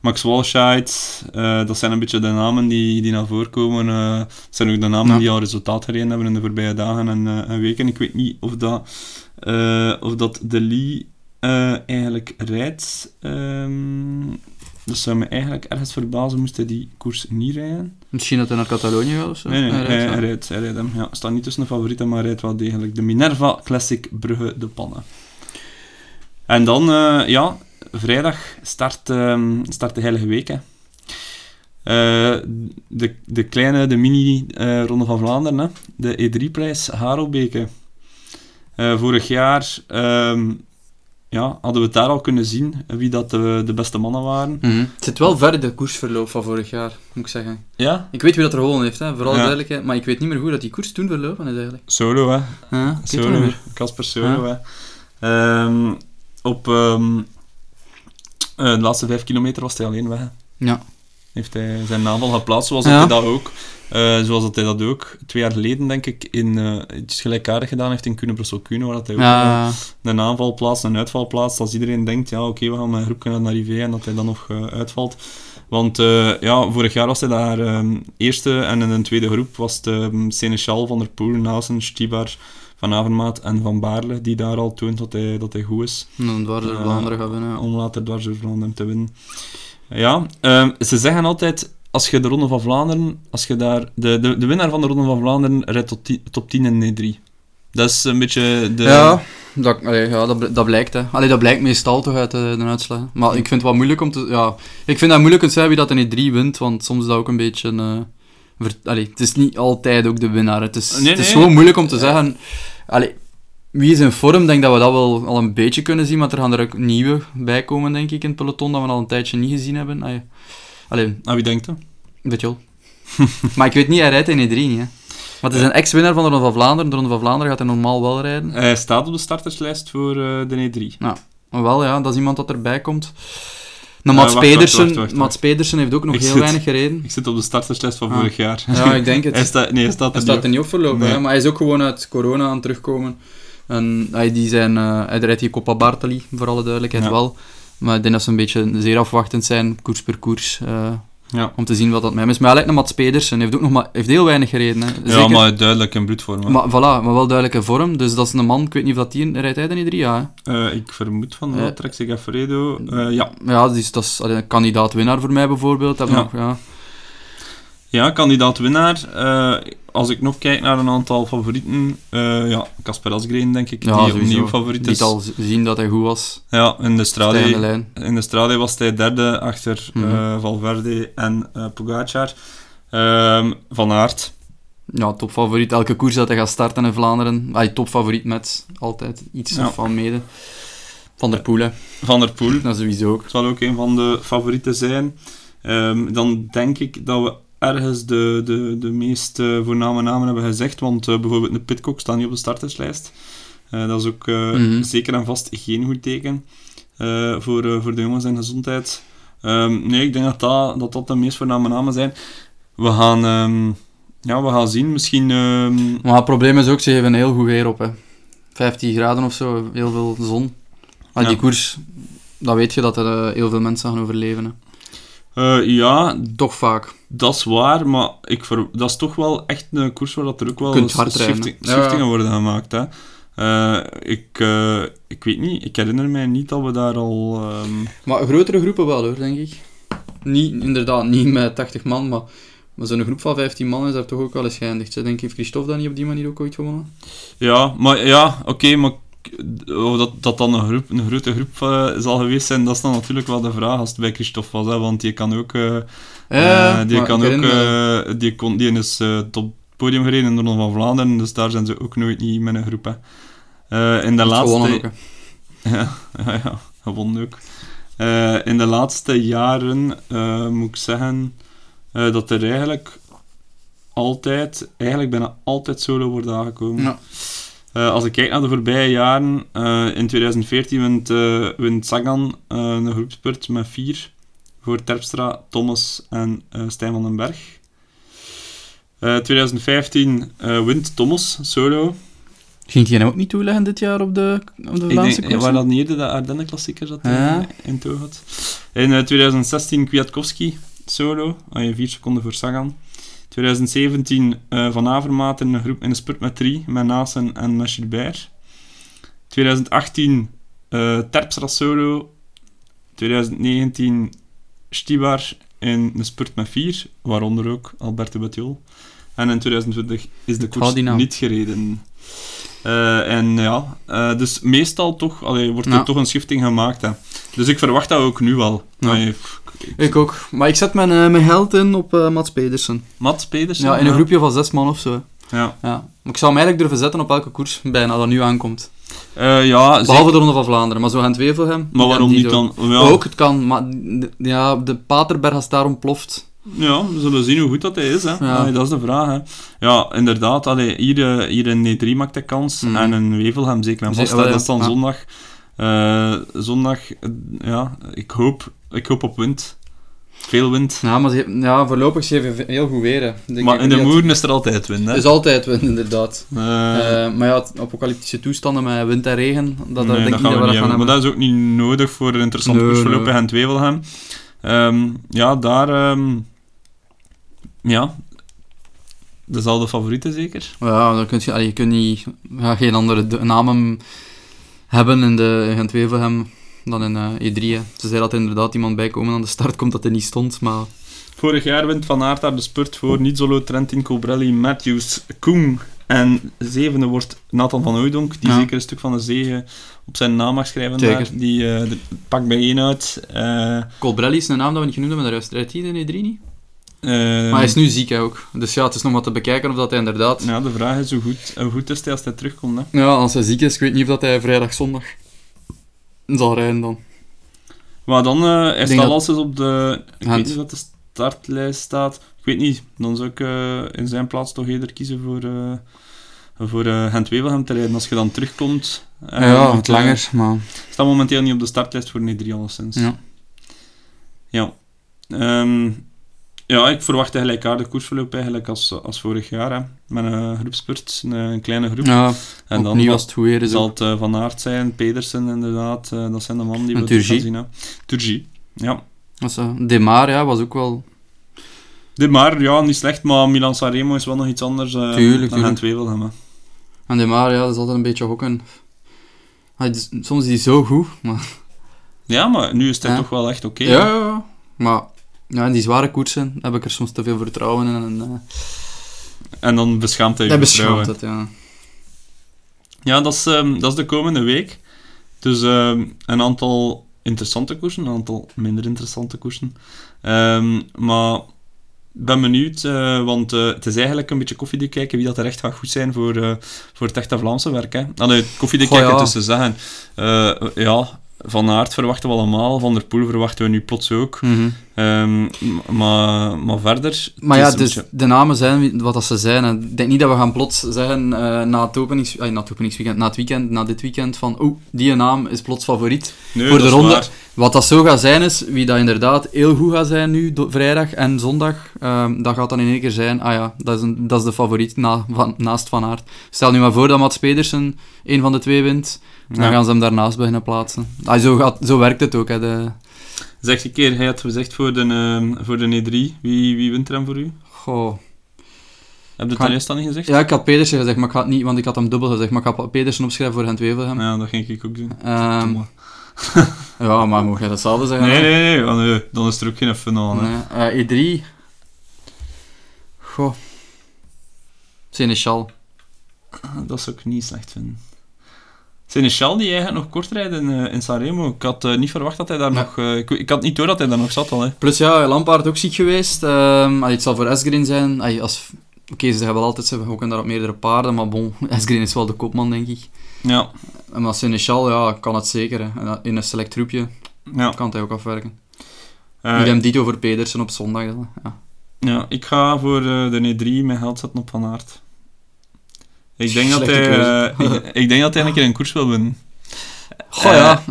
S1: Max Walscheid. eh, dat zijn een beetje de namen die, die naar voren komen. eh, het zijn ook de namen
S3: Ja.
S1: die al resultaat gereden hebben in de voorbije dagen en, eh, en weken. Ik weet niet of dat, eh, of dat De Lee eh, eigenlijk rijdt. Ehm, dat zou me eigenlijk ergens verbazen moest hij die koers niet rijden.
S3: misschien dat hij naar Catalonië gaat of zo.
S1: Nee, nee,
S3: Eh,
S1: hij, hij
S3: ja.
S1: rijdt, hij rijdt hem. Ja, staat niet tussen de favorieten, maar hij rijdt wel degelijk. De Minerva Classic Brugge de Pannen. En dan, eh, ja, vrijdag start, ehm, start de Heilige Week. Hè. Eh, de, de kleine, de mini-ronde van Vlaanderen. Hè. De E3-prijs Harelbeke. Eh, vorig jaar ehm, ja, hadden we het daar al kunnen zien eh, wie dat de, de beste mannen waren.
S3: Mhm. Het zit wel ver in de koersverloop van vorig jaar, moet ik zeggen.
S1: Ja?
S3: Ik weet wie dat er gewonnen heeft, hè, vooral
S1: Ja.
S3: duidelijkheid. Maar ik weet niet meer hoe dat die koers toen verlopen is eigenlijk.
S1: Solo, hè.
S3: Ja, ik weet het niet
S1: Solo,
S3: meer.
S1: Casper Solo. hè. Ehm, op ehm, eh, de laatste vijf kilometer was hij alleen weg. hè.
S3: Ja.
S1: Heeft hij zijn naam al geplaatst, zoals
S3: Ja.
S1: dat hij dat ook. eh, zoals dat hij dat ook twee jaar geleden, denk ik, in, eh iets gelijkaardig gedaan heeft in Kunen Brussel Kunen, waar dat hij ook eh,
S3: Ja,
S1: een aanval plaatst, een uitval plaatst. Als iedereen denkt, ja oké, we gaan met een groep kunnen naar Rivé en dat hij dan nog eh, uitvalt. Want eh, ja, vorig jaar was hij daar ehm, eerste en in een tweede groep was het ehm, Seneschal, Van der Poel, Naassen, Stibar, Van Avermaat en Van Baarle, die daar al toont dat hij, dat hij goed is
S3: en dan dwars door
S1: Ja.
S3: Vlaanderen gaan winnen. ja.
S1: om later dwars door Vlaanderen te winnen. Ja, ehm, ze zeggen altijd, als je de Ronde van Vlaanderen, als je daar, de, de, de winnaar van de Ronde van Vlaanderen rijdt tot ti- top 10 in E3. Dat is een beetje de...
S3: Ja, dat, allee, ja dat, bl- dat blijkt. Hè. Allee, dat blijkt meestal toch uit eh, de, de uitslag. Maar ik vind het wel moeilijk om te... Ja, ik vind dat moeilijk om te zeggen wie dat in die 3 wint, want soms is dat ook een beetje... eh ver- allee, het is niet altijd ook de winnaar. Het is,
S1: Nee,
S3: het is
S1: nee.
S3: gewoon moeilijk om te zeggen... Allee, wie is in vorm? Ik denk dat we dat wel al een beetje kunnen zien, maar er gaan er ook nieuwe bij komen, denk ik, in het peloton, dat we al een tijdje niet gezien hebben. Allee, allee
S1: Ah, wie denkt dat?
S3: Weet je wel. maar ik weet niet, hij rijdt in E3 niet, hè. Maar het is een ex-winnaar van de Ronde van Vlaanderen. De Ronde van Vlaanderen gaat hij normaal wel rijden.
S1: Hij staat op de starterslijst voor eh, de E3.
S3: Maar wel, ja, dat is iemand dat erbij komt. Nou,
S1: Eh, wacht,
S3: Mats,
S1: wacht,
S3: Pedersen,
S1: wacht, wacht, wacht.
S3: Mats Pedersen heeft ook nog
S1: Ik
S3: heel
S1: zit-
S3: weinig gereden.
S1: Ik zit op de starterslijst van
S3: Ah.
S1: vorig jaar.
S3: Ja, ik denk het.
S1: hij staat, nee, hij staat
S3: Hij
S1: er
S3: staat
S1: niet
S3: er niet op voorlopig,
S1: Nee.
S3: hè, maar hij is ook gewoon uit corona aan het terugkomen. En hij, die zijn, eh, hij rijdt hier Coppa Bartali, voor alle duidelijkheid
S1: Ja.
S3: wel. Maar ik denk dat ze een beetje zeer afwachtend zijn, koers per koers, eh,
S1: Ja.
S3: om te zien wat dat met hem is. Maar hij lijkt naar Mats Pedersen, hij heeft ook nog maar, heeft heel weinig gereden. Hè.
S1: Ja, maar duidelijk in bloedvorm. hè.
S3: Maar voilà, maar wel duidelijke vorm. Dus dat is een man, ik weet niet of dat die rijdt hij dan in drie jaar.
S1: Eh, ik vermoed van
S3: Eh.
S1: wel, Trek Segafredo. Eh, ja.
S3: Ja, dus dat is allee, een kandidaat-winnaar voor mij bijvoorbeeld. Dat
S1: Ja.
S3: Nog, ja.
S1: ja, kandidaat-winnaar. Eh, als ik nog kijk naar een aantal favorieten, eh, ja, Kasper Asgreen denk ik,
S3: Ja,
S1: die
S3: sowieso.
S1: opnieuw favoriet
S3: Niet
S1: is.
S3: al z- zien dat hij goed was.
S1: Ja, in de
S3: Stijgende
S1: Strade,
S3: lijn.
S1: in de Strade was hij derde achter eh,
S3: Mhm.
S1: Valverde en eh Pogacar. Ehm, van Aert.
S3: Ja, topfavoriet. Elke koers dat hij gaat starten in Vlaanderen. Hij topfavoriet met altijd iets
S1: Ja.
S3: of van mede. Van der Poel, hè.
S1: Van der Poel.
S3: Dat sowieso ook.
S1: Het zal ook een van de favorieten zijn. Ehm, dan denk ik dat we ergens de, de, de meest eh, voorname namen hebben gezegd. Want eh, bijvoorbeeld de Pitcock staat niet op de starterslijst. Eh, dat is ook eh,
S3: Mhm.
S1: zeker en vast geen goed teken eh, voor, eh, voor de jongens en gezondheid. Ehm, nee, ik denk dat dat, dat dat de meest voorname namen zijn. We gaan, ehm, ja, we gaan zien. Misschien ehm,
S3: Maar het probleem is ook, ze geven heel goed weer op. Hè. 15 graden of zo, heel veel zon. Maar die
S1: Ja.
S3: koers, dan weet je dat er eh, heel veel mensen gaan overleven. Hè.
S1: eh, ja,
S3: Toch vaak.
S1: Dat is waar, maar ik ver- dat is toch wel echt een koers waar dat er ook wel
S3: kunt hard
S1: shifting-
S3: rijden, hè.
S1: shiftingen
S3: Ja.
S1: worden gemaakt. Hè. Eh, ik, eh, ik weet niet, ik herinner mij niet dat we daar al... ehm,
S3: Maar grotere groepen wel hoor, denk ik. Niet, inderdaad, niet met 80 man, maar, maar zo'n groep van 15 man is daar toch ook wel eens geëindigd. Ze denk, heeft Christophe dat niet op die manier ook ooit gewonnen?
S1: Ja, maar ja, oké, maar k- of dat, dat dan een, groep, een grote groep eh, zal geweest zijn, dat is dan natuurlijk wel de vraag als het bij Christophe was, hè, want die kan ook... eh, eh, die kan
S3: maar ik
S1: ook...
S3: herinner me-
S1: eh, die, kon, die is eh, tot het podium gereden in de Ronde van Vlaanderen, dus daar zijn ze ook nooit niet met een groep. Hè. Eh, in de
S3: gewonnen
S1: laatste...
S3: ook, hè.
S1: Ja, ja, ja, gewonnen ook. Eh, in de laatste jaren eh, moet ik zeggen eh, dat er eigenlijk altijd, eigenlijk bijna altijd solo wordt aangekomen.
S3: Ja.
S1: Eh, als ik kijk naar de voorbije jaren, eh, in 2014 wint, eh, wint Sagan eh, een groepspurt met vier voor Terpstra, Thomas en eh, Stijn van den Berg. Eh, 2015 eh, wint Thomas solo.
S3: Ging die ook niet toeleggen dit jaar op de, op de
S1: Ik
S3: Vlaamse
S1: denk,
S3: koers?
S1: waar dat niet eerder de Ardennen-klassieker zat
S3: Ja.
S1: in, in toog had. In eh, 2016 Kwiatkowski, solo, eh, 4 seconden voor Sagan. 2017 eh, Van Avermaat in een groep in een spurt met drie, met Nasen en met Gilbert. 2018 eh, Terpstra solo. 2019 Stibar in een spurt met vier, waaronder ook Alberto Bettiol. En in 2020 is de
S3: Ik hou
S1: koers
S3: die naam.
S1: niet gereden. Eh, en ja, eh, dus meestal toch, allee, wordt
S3: Ja.
S1: er toch een schifting gemaakt. Hè. Dus ik verwacht dat ook nu wel.
S3: Ja.
S1: Allee,
S3: Ik ook. Maar ik zet mijn, eh, mijn geld in op eh, Mats Pedersen.
S1: Mats Pedersen? eh,
S3: Ja, in een groepje van zes man of zo. hè.
S1: Ja,
S3: Ja. Maar ik zou hem eigenlijk durven zetten op elke koers bijna dat nu aankomt.
S1: Eh, ja zeker.
S3: Behalve de Ronde van Vlaanderen, maar zo gaan twee voor hem.
S1: Maar waarom
S3: En die
S1: niet
S3: door-
S1: dan? Ja,
S3: Ook, het kan, maar d- ja, de Paterberg als daar ontploft.
S1: ja, we zullen zien hoe goed dat hij is. Hè.
S3: Ja.
S1: Allee, dat is de vraag. Hè. Ja, inderdaad. Allee, hier, eh, hier in D3 maakt hij kans.
S3: Mhm.
S1: En in Wevelgem zeker. En
S3: Zee-
S1: vast, hè.
S3: wel, ja.
S1: Dat is dan
S3: Ja.
S1: zondag. Eh, zondag, eh, ja, ik hoop, ik hoop op wind. Veel wind.
S3: Ja, maar ze, ja, voorlopig ze heeft heel goed weer. hè. Denk
S1: maar
S3: ik
S1: in de
S3: niet dat-
S1: moeren is er altijd wind. Hè.
S3: Is altijd wind, inderdaad.
S1: Eh,
S3: Eh, maar ja, het- apocalyptische toestanden met wind en regen, dat, dat
S1: Nee,
S3: denk ik
S1: gaan
S3: niet dat we dat
S1: niet hebben.
S3: gaan hebben.
S1: Maar dat is ook niet nodig voor een interessant
S3: Nee,
S1: koersverloop
S3: nee.
S1: bij gent wevelgem Ehm, ja, daar... ehm, ja. Dezelfde favorieten zeker.
S3: Ja, dan kun je, allee, je kunt niet, ja, geen andere d- namen hebben in de in Gent-Wevelgem dan in eh, E3. Hè. Ze zei dat er inderdaad iemand bij komen aan de start komt dat er niet stond, maar
S1: Vorig jaar wint Van Aert daar de spurt
S3: Oh.
S1: voor Nizzolo, Trentin, Cobrelli, Matthews, Koen. En zevende wordt Nathan van Ooydonk, die
S3: Ja.
S1: zeker een stuk van de zegen op zijn naam mag schrijven.
S3: Zeker.
S1: daar. Die eh, de- pakt bijeen uit. Eh,
S3: Colbrelli is een naam dat we niet genoemd hebben, maar daar rijdt hij in E3 niet.
S1: eh,
S3: Maar hij is nu ziek hè, ook, dus ja, het is nog maar te bekijken of dat hij inderdaad... Ja.
S1: ja, de vraag is hoe goed, hoe goed is hij als hij terugkomt. Hè?
S3: als hij ziek is, ik weet niet of dat hij vrijdag, zondag zal rijden dan.
S1: Maar dan, eh hij
S3: denk
S1: staat
S3: dat-
S1: alles op de... Ik
S3: Hand.
S1: weet niet wat de startlijst staat. Ik weet niet. Dan zou ik eh, in zijn plaats toch eerder kiezen voor... eh voor eh gent wevelgem te rijden. Als je dan terugkomt... eh,
S3: ja,
S1: moet
S3: het
S1: je-
S3: langer, maar...
S1: staat momenteel niet op de startlijst voor Nedri, alleszins.
S3: Ja.
S1: Ja. Ehm, ja, ik verwacht een gelijkaardig koersverloop eigenlijk als, als vorig jaar. Hè. Met een groepspurt, een, eh, een kleine groep.
S3: Ja,
S1: en dan
S3: opnieuw als het goed weer is.
S1: zal
S3: ook.
S1: het eh, Van Aert zijn, Pedersen inderdaad. eh, dat zijn de mannen die
S3: En
S1: we terug gaan
S3: Turgy.
S1: zien. hè. Turgy, ja.
S3: Dat is, eh, De Maar, ja, was ook wel...
S1: Dit maar, ja, niet slecht, maar Milan Sanremo is wel nog iets anders eh
S3: Tuurlijk,
S1: dan
S3: tuurlijk.
S1: gent Wevelgem. hè.
S3: En De Maar, ja, dat is altijd een beetje hokken. Hij is- Soms is hij zo goed, maar...
S1: Ja, maar nu is hij
S3: Ja.
S1: toch wel echt oké.
S3: Ja, ja, ja. Maar ja, in die zware koersen heb ik er soms te veel vertrouwen in. En, eh
S1: En dan beschaamt hij je
S3: dat
S1: vertrouwen.
S3: beschaamt het, ja.
S1: Ja, dat is, ehm, dat is de komende week. Dus ehm, een aantal interessante koersen, een aantal minder interessante koersen. Ehm, maar ik ben benieuwd, eh, want eh, het is eigenlijk een beetje koffiedik kijken wie dat er echt gaat goed zijn voor, eh, voor het echte Vlaamse werk. Hè. Allee, Ah, koffiedik
S3: Goh,
S1: kijken
S3: ja.
S1: tussen zeggen. Eh, ja, Van Aert verwachten we allemaal, Van der Poel verwachten we nu plots ook. Ehm, m- maar, maar verder...
S3: Mhm. Maar
S1: het is
S3: ja,
S1: een
S3: dus
S1: beetje-
S3: de namen zijn wie- wat dat ze zijn. hè. Ik denk niet dat we gaan plots zeggen eh, na, het openings, ay, na het openingsweekend, na het weekend, na dit weekend, van oh, die naam is plots favoriet
S1: Nee,
S3: voor de
S1: dat is
S3: ronde.
S1: waar.
S3: Wat dat zo gaat zijn is, wie dat inderdaad heel goed gaat zijn nu, do- vrijdag en zondag, ehm, dat gaat dan in één keer zijn, ah ja, dat is, een, dat is de favoriet na, van, naast Van Aert. Stel nu maar voor dat Mats Pedersen één van de twee wint, dan
S1: Ja.
S3: gaan ze hem daarnaast beginnen plaatsen. Ah, zo, gaat, zo werkt het ook, hè, de,
S1: Zeg een keer, hij had gezegd voor de, ehm, voor de E3, wie, wie wint er dan voor u?
S3: goh...
S1: Heb je het
S3: Kan-
S1: al eerst dan niet gezegd?
S3: Ja, ik had Pedersen gezegd, maar ik had het niet, want ik had hem dubbel gezegd. Maar ik had Pedersen opschrijven voor Gent-Wevelgem.
S1: Ja, dat ging ik ook doen.
S3: Ja.
S1: Domme.
S3: ja, maar mocht jij datzelfde zeggen?
S1: Nee,
S3: hè?
S1: nee, nee, want, eh, dan is er ook geen fun aan. hè.
S3: Nee. Eh, E3. Goh. Seneschal.
S1: Dat zou ik niet slecht vinden. Seneschal, die jij gaat nog kort rijden eh, in Sanremo. Ik had eh, niet verwacht dat hij daar
S3: Nee.
S1: nog... eh, ik, ik had niet door dat hij daar nog zat al, hè.
S3: Plus ja, Lampaard ook ziek geweest. Ehm, allee, het zal voor Esgrin zijn. Allee, als... Oké, ze zeggen wel altijd, ze gokken daar op meerdere paarden. Maar bon, Esgrin is wel de kopman, denk ik.
S1: Ja,
S3: En maar Seneschal, ja, kan het zeker. hè. En dat- In een select groepje
S1: ja.
S3: kan het hij ook afwerken.
S1: Eh,
S3: Uh, Idem dito voor Pedersen op zondag. hè. Ja.
S1: ja ik ga voor eh, de E3 mijn geld zetten op Van Aert. Ik denk, dat hij,
S3: Slechte
S1: eh, ik, ik denk dat hij een keer een koers wil winnen.
S3: Goh
S1: Eh,
S3: ja.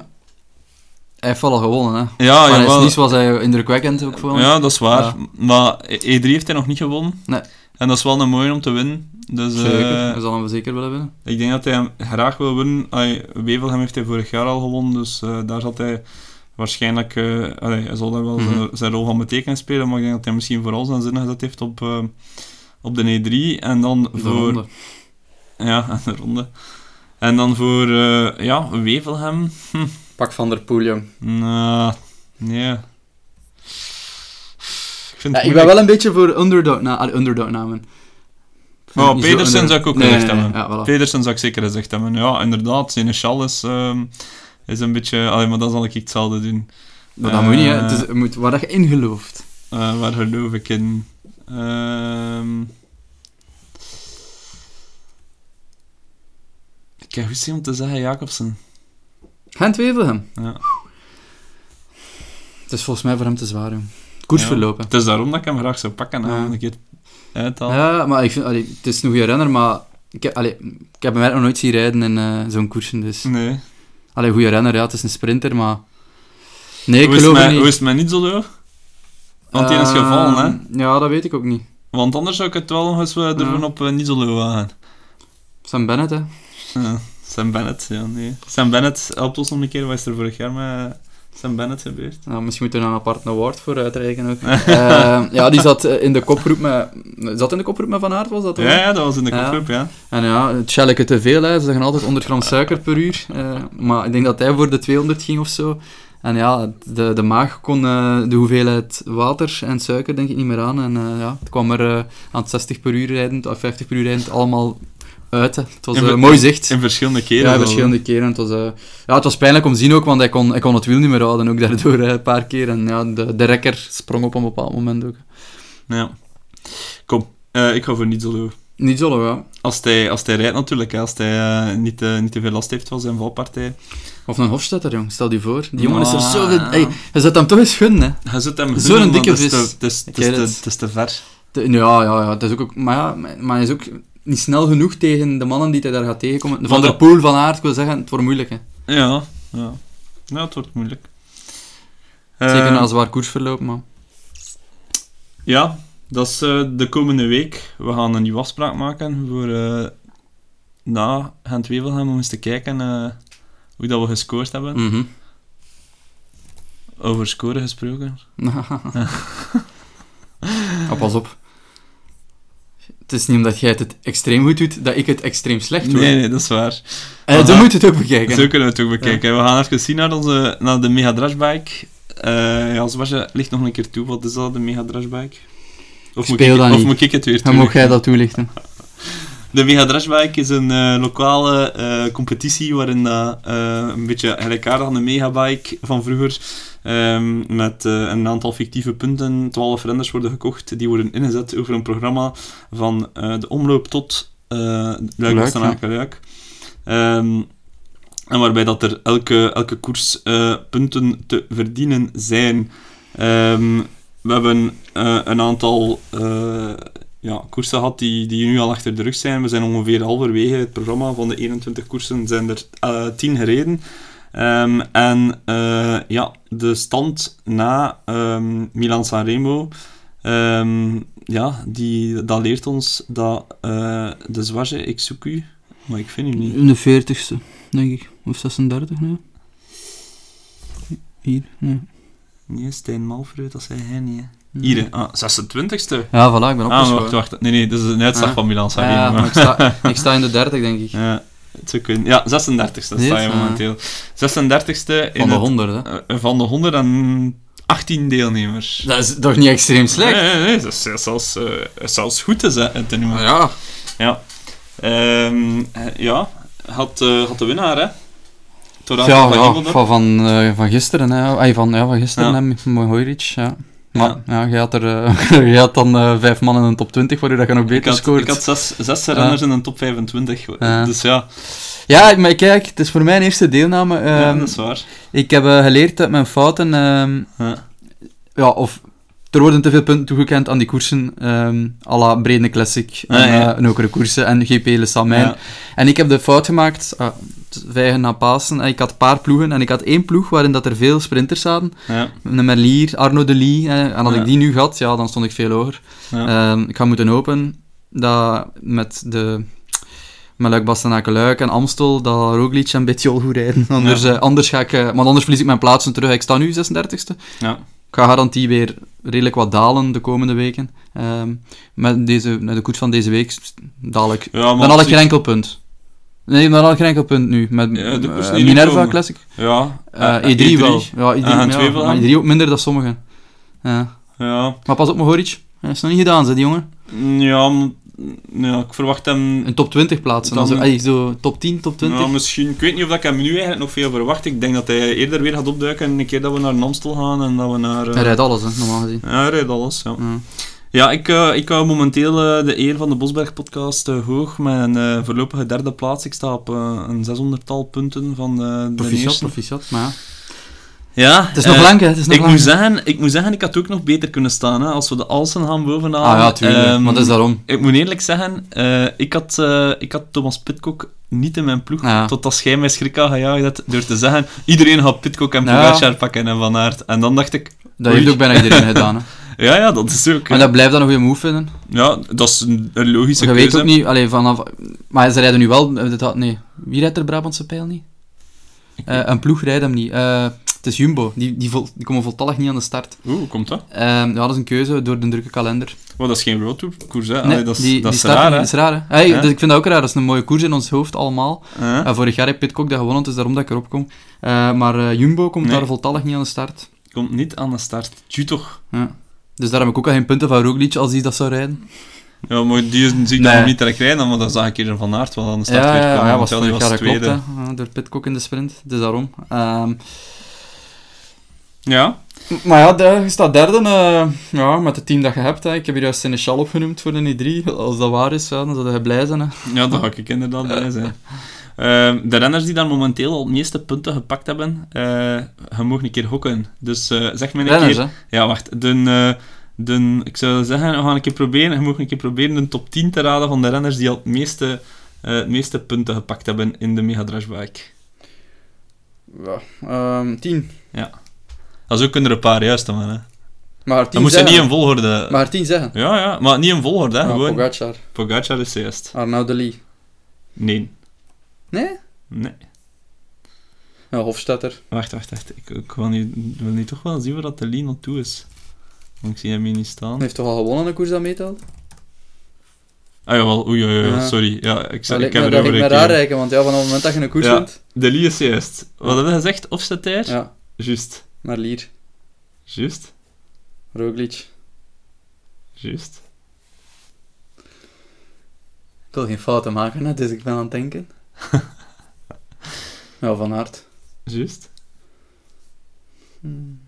S3: Hij heeft wel al gewonnen, hè.
S1: Ja,
S3: maar hij
S1: jawel.
S3: is niet zoals hij indrukwekkend ook vond.
S1: Ja, dat is waar.
S3: Ja.
S1: Maar E3 heeft hij nog niet gewonnen.
S3: Nee.
S1: En dat is wel een mooie om te winnen. Dus eh,
S3: Zeker, we zal hem zeker willen winnen.
S1: ik denk dat hij hem graag wil winnen. Ai, Wevelgem heeft hij vorig jaar al gewonnen, dus eh, daar zal hij waarschijnlijk... eh, allee, hij zal daar wel
S3: Mhm.
S1: zijn, zijn rol van betekenis spelen, maar ik denk dat hij misschien vooral zijn zin gezet heeft op, eh, op de E3. En dan
S3: De
S1: voor...
S3: ronde.
S1: Ja, aan de ronde. En dan voor... eh, ja, Wevelgem... Hm.
S3: Pak Van der Poel, jong.
S1: Nou, nee. Ik vind
S3: Ja,
S1: het
S3: ik ben wel een beetje voor underdog, na, allee, underdog namen.
S1: Oh, Pedersen zou ik ook gezegd hebben.
S3: Ja, voilà.
S1: Pedersen zou ik zeker gezegd hebben. Ja, inderdaad. Seneschal is, ehm, is een beetje... Allee, maar dan zal ik hetzelfde doen.
S3: Maar dat moet niet, hè.
S1: Eh,
S3: Het is, het moet waar dat je in gelooft.
S1: eh, waar geloof ik in? Ehm ik heb goed zin om te zeggen Jacobsen.
S3: Gent Wevelgem.
S1: Ja.
S3: Het is volgens mij voor hem te zwaar, jong. Koers
S1: Ja.
S3: verlopen.
S1: Het is daarom dat ik hem graag zou pakken. hè,
S3: Ja.
S1: om Een keer uithalen.
S3: Ja, maar ik vind, allee, het is een goede renner, maar ik heb, allee, ik heb hem eigenlijk nog nooit zien rijden in eh, zo'n koersen, dus...
S1: Nee.
S3: Allee, goede renner, ja, het is een sprinter, maar... Nee, ik
S1: hoe, is het
S3: geloof
S1: mij,
S3: het niet.
S1: hoe is het mij niet zo door? Want die is gevallen, hè?
S3: Ehm, Ja, dat weet ik ook niet.
S1: Want anders zou ik het wel nog eens eh, durven
S3: Ja.
S1: op eh, niet zo leuk wagen.
S3: Sam Bennett, hè.
S1: Ja, Sam Bennett, ja, nee. Sam Bennett, helpt ons nog een keer, wat is er vorig jaar met eh, Sam Bennett gebeurd?
S3: Nou, misschien moeten we daar een apart award voor uitreiken ook. Ehm, ja, die zat eh, in de kopgroep met... Zat in de kopgroep met Van Aert, was dat
S1: Ja,
S3: hoor?
S1: ja, dat was in de
S3: Oh. Ja.
S1: kopgroep, ja.
S3: En ja, het shelleke te veel, hè. Ze zeggen altijd 100 gram suiker per uur. eh, maar ik denk dat hij voor de 200 ging of zo. En ja, de, de maag kon eh, de hoeveelheid water en suiker denk ik niet meer aan. En eh, ja, het kwam er eh, aan het 60 per uur rijdend, of 50 per uur rijdend, allemaal uit. hè. Het was
S1: In
S3: eh,
S1: ver-
S3: een mooi zicht.
S1: In verschillende keren.
S3: Ja,
S1: wel.
S3: verschillende keren. Het was, eh, ja, het was pijnlijk om te zien ook, want hij kon, hij kon het wiel niet meer houden. Ook daardoor eh, een paar keer. En ja, de, de rekker sprong op een bepaald moment ook.
S1: Ja. Kom, eh, ik ga voor niet zo leuk.
S3: Niet zo, ja.
S1: Als hij, als hij rijdt natuurlijk, hè. als hij eh, niet, eh, niet te veel last heeft van zijn valpartij.
S3: Of een Hofstetter, jong. Stel die voor. Die jongen is er
S1: Maar-
S3: zo... ge- Hey, je zet hem toch eens gunnen, hè.
S1: Hij zit hem
S3: Zo'n
S1: gunnen, maar
S3: dikke
S1: dat is te-
S3: vis.
S1: Het is- het
S3: Ik
S1: is
S3: weet
S1: te-
S3: het.
S1: het is te ver.
S3: De- ja, ja, ja. Het is ook, ook- maar ja, maar hij is ook niet snel genoeg tegen de mannen die hij daar gaat tegenkomen. Van
S1: Maar
S3: der
S1: dat-
S3: Poel, Van Aert, ik wil zeggen, het wordt moeilijk, hè.
S1: Ja, ja. Ja, het wordt moeilijk.
S3: Zeker
S1: Eh,
S3: na een zwaar koersverloop, man.
S1: Ja, dat is eh, de komende week. We gaan een nieuwe afspraak maken voor eh, na Gent Wevelgem om eens te kijken eh, hoe dat we gescoord hebben.
S3: Mhm.
S1: Over scoren gesproken.
S3: Ah, pas op. Het is niet omdat jij het extreem goed doet, dat ik het extreem slecht doe.
S1: Nee, nee, dat is waar.
S3: Eh, zo
S1: Aha.
S3: moet je het ook bekijken.
S1: Zo kunnen we het ook bekijken. We gaan even zien naar, onze, naar de Mega Drashbike. Eh ja, Zwasje, ligt nog een keer toe. Wat is dat, de Mega Drashbike? Of, moet
S3: Speel
S1: ik,
S3: dat
S1: of
S3: niet.
S1: moet ik het weer
S3: Dan mocht
S1: toelichten?
S3: jij dat toelichten.
S1: De Mega Drashbike is een eh, lokale eh, competitie waarin dat, eh, een beetje gelijkaardig aan de Megabike van vroeger ehm, met eh, een aantal fictieve punten, 12 renders worden gekocht, die worden ingezet over een programma van eh, de omloop tot eh Luik,
S3: Luik,
S1: Luik, Luik. Ehm, En waarbij dat er elke, elke koers eh, punten te verdienen zijn. Ehm, we hebben eh, een aantal eh, ja, koersen gehad die, die nu al achter de rug zijn. We zijn ongeveer halverwege het programma. Van de 21 koersen zijn er eh 10 gereden. Ehm, en eh, ja, de stand na ehm Milan Sanremo, ehm, ja, die, dat leert ons dat eh, de Zwaje, ik zoek u, maar ik vind u niet.
S4: In de 40ste, denk ik. Of 36, nee. Hier, nee.
S1: Nee, Stijn Malfreut, dat zei hij niet. hè.
S4: Nee.
S1: Hier, hè. ah, 26e.
S3: Ja, voilà, ik ben
S1: Ah, wacht,
S3: opgeschoten.
S1: wacht. Nee, nee, dat is een uitslag
S3: Ah.
S1: van Milan
S3: ja,
S1: Sanremo.
S3: maar ik, sta, ik sta in de 30, denk ik.
S1: Ja, het zou kunnen. Ja, 36 ste sta je
S3: Dit,
S1: momenteel. 36e in
S3: eh, Van de
S1: het-
S3: 100, hè.
S1: eh, van de 118 deelnemers.
S3: Dat is toch niet extreem slecht?
S1: Nee, nee, nee, dat is zelfs, eh, zelfs goed te, ze- te noemen.
S3: Ja.
S1: Ja. Ehm, eh, ja, had, eh, had de winnaar, hè? Torad
S3: Ja,
S1: van
S3: ja,
S1: Hemeldorp.
S3: van, van, eh, van gisteren, hè. Ay, van, ja, van gisteren,
S1: Ja.
S3: hè, met Mojoric, ja. Maar, ja, jij had, er, eh, jij had dan eh, vijf mannen in de top 20, waardoor dat je nog
S1: Ik
S3: beter
S1: had,
S3: scoort.
S1: ik had zes, zes renners in de top 25.
S3: Ja.
S1: Dus ja,
S3: Ja, maar kijk, het is voor mijn eerste deelname.
S1: ja,
S3: ehm,
S1: dat is waar.
S3: Ik heb eh, geleerd uit mijn fouten. ehm,
S1: Ja.
S3: ja, of er worden te veel punten toegekend aan die koersen. ehm à la Brede Classic,
S1: Ah,
S3: en,
S1: ja.
S3: eh, en ook de koersen en GP Le Samijn.
S1: Ja.
S3: En ik heb de fout gemaakt, ah, t- vijgen na Pasen, en ik had een paar ploegen. En ik had één ploeg waarin dat er veel sprinters zaten.
S1: Ja.
S3: Een Merlier, Arno de Lee. eh, en had
S1: Ja.
S3: ik die nu gehad, ja, dan stond ik veel hoger.
S1: Ja.
S3: Ehm, ik ga moeten hopen dat met de... Met Luik Bastenaken-Luik en Amstel, dat Roglic en Betjol goed rijden. Anders, eh, anders ga ik... eh, want anders verlies ik mijn plaatsen terug. Ik sta nu 36e.
S1: Ja.
S3: Ik ga garantie weer redelijk wat dalen de komende weken. Ehm, met, deze, met de koers van deze week s- daal ik.
S1: Ja, maar
S3: Dan had
S1: op
S3: ik
S1: zich-
S3: geen enkel punt. Nee, dan had ik geen enkel punt nu. Met
S1: Ja, de koers
S3: eh,
S1: die nu
S3: Minerva
S1: komen.
S3: Classic.
S1: Ja,
S3: Eh,
S1: eh,
S3: E3, wel. Ja,
S1: Ah,
S3: E3, maar
S1: en
S3: ja,
S1: Tweevelen?
S3: maar E3 ook minder dan sommigen. Ja.
S1: Ja,
S3: Maar pas op, Mohoric. Dat is nog niet gedaan, ze die jongen.
S1: ja, m- ja, ik verwacht hem.
S3: Een top 20 plaatsen.
S1: Dan-
S3: Dan zo, ey, zo top 10, top 20.
S1: Ja, misschien, ik weet niet of ik hem nu eigenlijk nog veel verwacht. Ik denk dat hij eerder weer gaat opduiken en een keer dat we naar Namstel gaan en dat we naar... eh,
S3: Hij rijdt alles, hè, normaal gezien.
S1: Ja, hij rijdt alles, ja.
S3: Ja.
S1: Ja, ik, eh, ik hou momenteel eh, de eer van de Bosberg-podcast eh, hoog met een eh, voorlopige derde plaats. Ik sta op eh, een 600-tal punten van eh de
S3: Proficiat,
S1: eerste.
S3: proficiat. Maar ja.
S1: Ja,
S3: Het is nog
S1: eh,
S3: lang, hè. Het is nog
S1: Ik
S3: lang.
S1: moet, zeggen, ik moet zeggen, ik had ook nog beter kunnen staan hè, als we de Alsen gaan bovenaan.
S3: Ah ja, tuurlijk.
S1: Ehm,
S3: maar dat is daarom.
S1: Ik moet eerlijk zeggen, eh, ik, had, eh, ik had Thomas Pitcock niet in mijn ploeg,
S3: Ja.
S1: totdat jij mij schrik had gejaagd hebt door te zeggen iedereen gaat Pitcock en
S3: Ja.
S1: Pogacar pakken en Van Aert. En dan dacht ik,
S3: Dat
S1: Oei.
S3: heeft ook bijna iedereen gedaan. Hè.
S1: ja, ja, dat is ook...
S3: Maar dat blijft dan een goede move vinden.
S1: Ja, dat is een, een logische
S3: Je
S1: keuze.
S3: weet ook niet, allee, vanaf... Maar ze rijden nu wel... eh, dat- Nee, wie rijdt er Brabantse pijl niet? Eh, een ploeg rijdt hem niet. Eh, het is Jumbo, die, die, vol- die komen voltallig niet aan de start.
S1: Oeh, hoe komt dat?
S3: Ehm, ja, dat is een keuze door de drukke kalender.
S1: Wow, dat is geen roadtourkoers, hè.
S3: Nee,
S1: Allee, dat is,
S3: die,
S1: dat
S3: die
S1: is raar,
S3: starten-
S1: hè.
S3: is raar, hè? Hey,
S1: Ja.
S3: dus ik vind dat ook raar, dat is een mooie koers in ons hoofd allemaal.
S1: Huh?
S3: Eh, vorig jaar heeft Pitcock dat gewonnen, dus daarom dat ik erop kom. Eh, maar eh, Jumbo komt
S1: Nee.
S3: daar voltallig niet aan de start.
S1: Komt niet aan de start. Tju toch.
S3: Ja. Dus daar heb ik ook al geen punten van Roglic als die dat zou rijden.
S1: Ja, maar die is- zie ik
S3: Nee.
S1: dan nog niet direct rijden, maar dan zag ik hier een Van Aert wel aan de start
S3: ja,
S1: weer
S3: ja,
S1: komen.
S3: ja,
S1: want
S3: was
S1: ja, die
S3: vorig jaar, dat klopt,
S1: tweede.
S3: hè. Eh, door Pitcock in de sprint. Dus daarom. Ehm,
S1: Ja,
S3: Maar ja, daar- je staat derde eh, ja, met het team dat je hebt. Hè. Ik heb hier juist Seneschal opgenoemd voor de E3. Als dat waar is, ja, dan zou je blij zijn. Hè.
S1: ja daar ga ik inderdaad bij zijn. Ehm, de renners die daar momenteel al het meeste punten gepakt hebben, eh je mag een keer gokken. Dus eh, zeg me een
S3: Renners,
S1: keer...
S3: hè.
S1: Ja, wacht. De, eh, de, ik zou zeggen, we gaan een keer proberen, je mag een keer proberen de top 10 te raden van de renners die al het meeste, eh, het meeste punten gepakt hebben in de Mega Drashback.
S3: Ja, ehm, tien.
S1: Ja, zo kunnen er een paar juist hebben. Hè.
S3: Maar
S1: Dan
S3: tien
S1: moet je
S3: zeggen.
S1: niet in volgorde.
S3: Maar tien zeggen.
S1: Ja, ja, maar niet in volgorde, hè,
S3: Ja,
S1: gewoon. Pogacar.
S3: Pogacar,
S1: is eerst.
S3: Arnaud de Lee.
S1: Nee.
S3: Nee?
S1: Nee.
S3: Ja, Hofstetter.
S1: Wacht, wacht, wacht. Ik, ik wil, nu, wil nu toch wel zien waar dat de Lee naartoe is. Want ik zie hem hier niet staan.
S3: heeft toch al gewonnen een koers dat meetelt?
S1: Ah, jawel. Oei, oei, oei,
S3: Ja.
S1: sorry. Ja, ik,
S3: Dat
S1: zei, ik
S3: lijkt
S1: heb
S3: me, nou,
S1: erover
S3: dat lijkt me
S1: gekeken.
S3: raar rijken, want ja, van het moment dat je een koers
S1: Ja.
S3: wint...
S1: De Lee is eerst. Wat hebben we gezegd? Of zit hij? er?
S3: Ja,
S1: Juist.
S3: naar Lier.
S1: Juist.
S3: Roglic.
S1: Juist.
S3: Ik wil geen fouten maken, hè, dus ik ben aan het denken. ja, Van Aert.
S1: Juist.
S3: Hmm.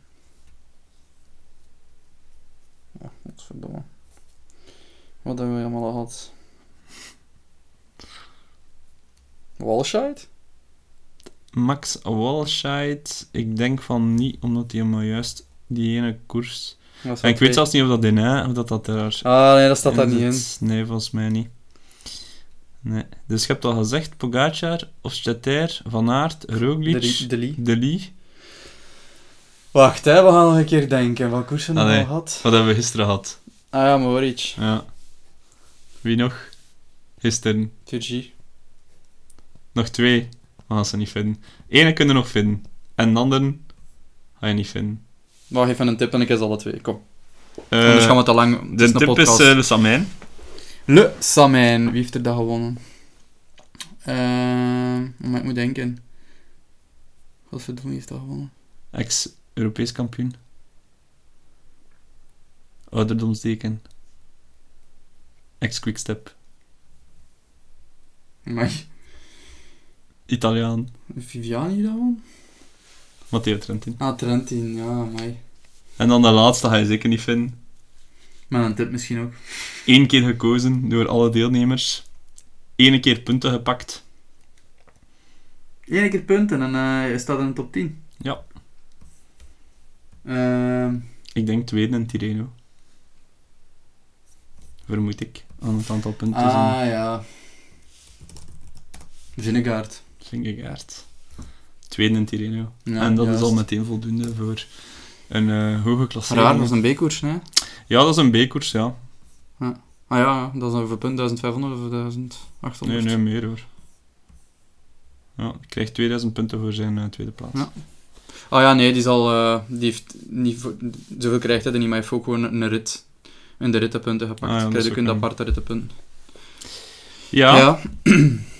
S3: Oh, godverdomme. Wat hebben we allemaal al gehad? Walshite?
S1: Max Walscheid, ik denk van niet, omdat hij maar juist die ene koers... En ik weet zelfs niet of dat in hè, of dat, dat er...
S3: Ah, nee, dat staat daar niet in.
S1: zit. Nee, volgens mij niet. Nee. Dus je hebt al gezegd, Pogacar, Hofstadter, Van Aert, Roglic,
S3: Deli- Deli.
S1: De Lee.
S3: Wacht, hè, we gaan nog een keer denken. Wat koersen hebben we
S1: Allee.
S3: al gehad?
S1: Wat hebben we gisteren gehad?
S3: Ah ja, Moric.
S1: Ja. Wie nog? Gisteren.
S3: Turgi.
S1: Nog twee. We gaan ze niet vinden. Ene kunnen we nog vinden. En de andere ga je niet vinden.
S3: Maar geef een tip en ik is alle twee. Kom.
S1: Eh,
S3: Anders gaan we te lang. Het is
S1: de
S3: een
S1: tip
S3: podcast.
S1: is eh, Le Samijn.
S3: Le Samijn. Wie heeft er dat gewonnen? Ehm, maar ik moet denken. Godverdomme, wie heeft dat gewonnen?
S1: Ex-Europees kampioen. Ouderdomsdeken. Ex-Quickstep.
S3: Maar
S1: Italiaan.
S3: Viviani dat won?
S1: Matteo Trentin.
S3: Ah, Trentin, ja, mij.
S1: En dan de laatste ga je zeker niet vinden.
S3: Maar een tip misschien ook.
S1: Eén keer gekozen door alle deelnemers. Ene keer punten gepakt.
S3: Eén keer punten en eh, je staat in de top 10.
S1: Ja.
S3: Ehm,
S1: Ik denk tweede in Tireno. Vermoed ik. Aan het aantal punten. zijn.
S3: ah, ja. Vinnegaard.
S1: Vingegaard. Tweede in Tireno.
S3: Ja,
S1: en dat
S3: juist.
S1: is al meteen voldoende voor een eh, hoge klasse.
S3: Raar, dat is een B-koers, hè?
S1: Ja, dat is een B-koers, ja.
S3: Ah ja, dat is een punt 1500 of 1800.
S1: Nee, nee, meer hoor. Ja, hij krijgt 2000 punten voor zijn eh, tweede plaats.
S3: Ja. Ah ja, nee, die, zal, eh, die heeft niet voor- zoveel krijgt hij er niet, maar hij heeft ook gewoon een rit. En de rittenpunten gepakt.
S1: Ah ja,
S3: Ah,
S1: dat
S3: Krijg
S1: is
S3: ook
S1: ook
S3: een
S1: een-
S3: aparte rittenpunt.
S1: Ja,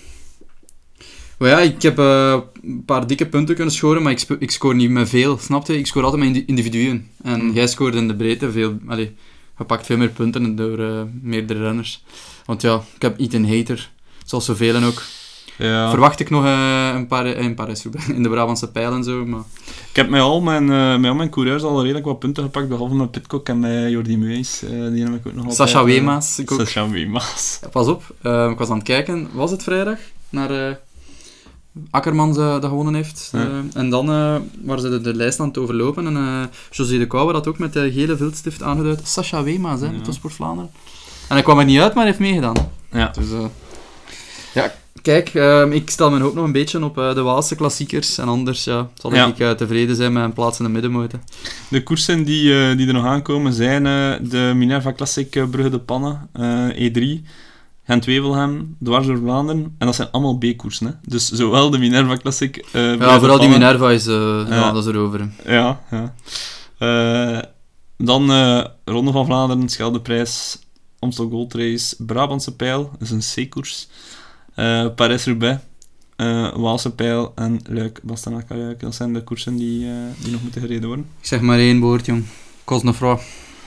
S3: maar ja, ik heb eh, een paar dikke punten kunnen scoren, maar ik, spe- ik scoor niet met veel, snap je? Ik scoor altijd met indi- individuen. En
S1: Hmm.
S3: jij scoorde in de breedte veel... Allee, je pakt veel meer punten door eh, meerdere renners. Want ja, ik heb Ethan Hater, zoals zoveel en ook.
S1: ja.
S3: Verwacht ik nog eh, een paar... eh, een paar in de Brabantse pijl en zo, maar...
S1: Ik heb met al mijn, eh, met al mijn coureurs al redelijk wat punten gepakt, behalve met Pitcock en met Jordi Meus. eh, die heb ik ook nog altijd...
S3: Sascha
S1: eh,
S3: Wema's, ik ook.
S1: Sascha Wema's.
S3: Pas op, eh, ik was aan het kijken, was het vrijdag? Naar eh Akkermans eh, dat gewonnen heeft.
S1: Ja.
S3: Eh, en dan eh, waren ze de, de lijst aan het overlopen. En eh, José de Kouwer had ook met de gele viltstift aangeduid. Sacha Wema's, hè,
S1: Ja.
S3: van Sport Vlaanderen. En hij kwam er niet uit, maar hij heeft meegedaan.
S1: Ja.
S3: Dus, eh, ja, kijk, eh, ik stel mijn hoop nog een beetje op eh, de Waalse klassiekers. En anders ja, zal
S1: Ja.
S3: ik eh, tevreden zijn met een plaats in de middenmoot. hè.
S1: De koersen die, eh, die er nog aankomen zijn eh, de Minerva Classic eh, Brugge de Pannen, eh, E3, Gent-Wevelgem, Dwars door Vlaanderen. En dat zijn allemaal B-koersen, hè. Dus zowel de Minerva Classic... eh, Brugge de
S3: Ja, vooral die
S1: Pannen-
S3: Minerva is, eh, ja,
S1: Ja.
S3: dat is erover. hè.
S1: Ja, ja. Eh, dan eh, Ronde van Vlaanderen, Scheldeprijs, Amstel Gold Race, Brabantse Pijl, dat is een C-koers, eh, Parijs-Roubaix, eh, Waalse Pijl en Luik-Bastenaken-Luik. Dat zijn de koersen die, eh, die nog moeten gereden worden.
S3: Ik zeg maar één woord, jong. Cosnefroid.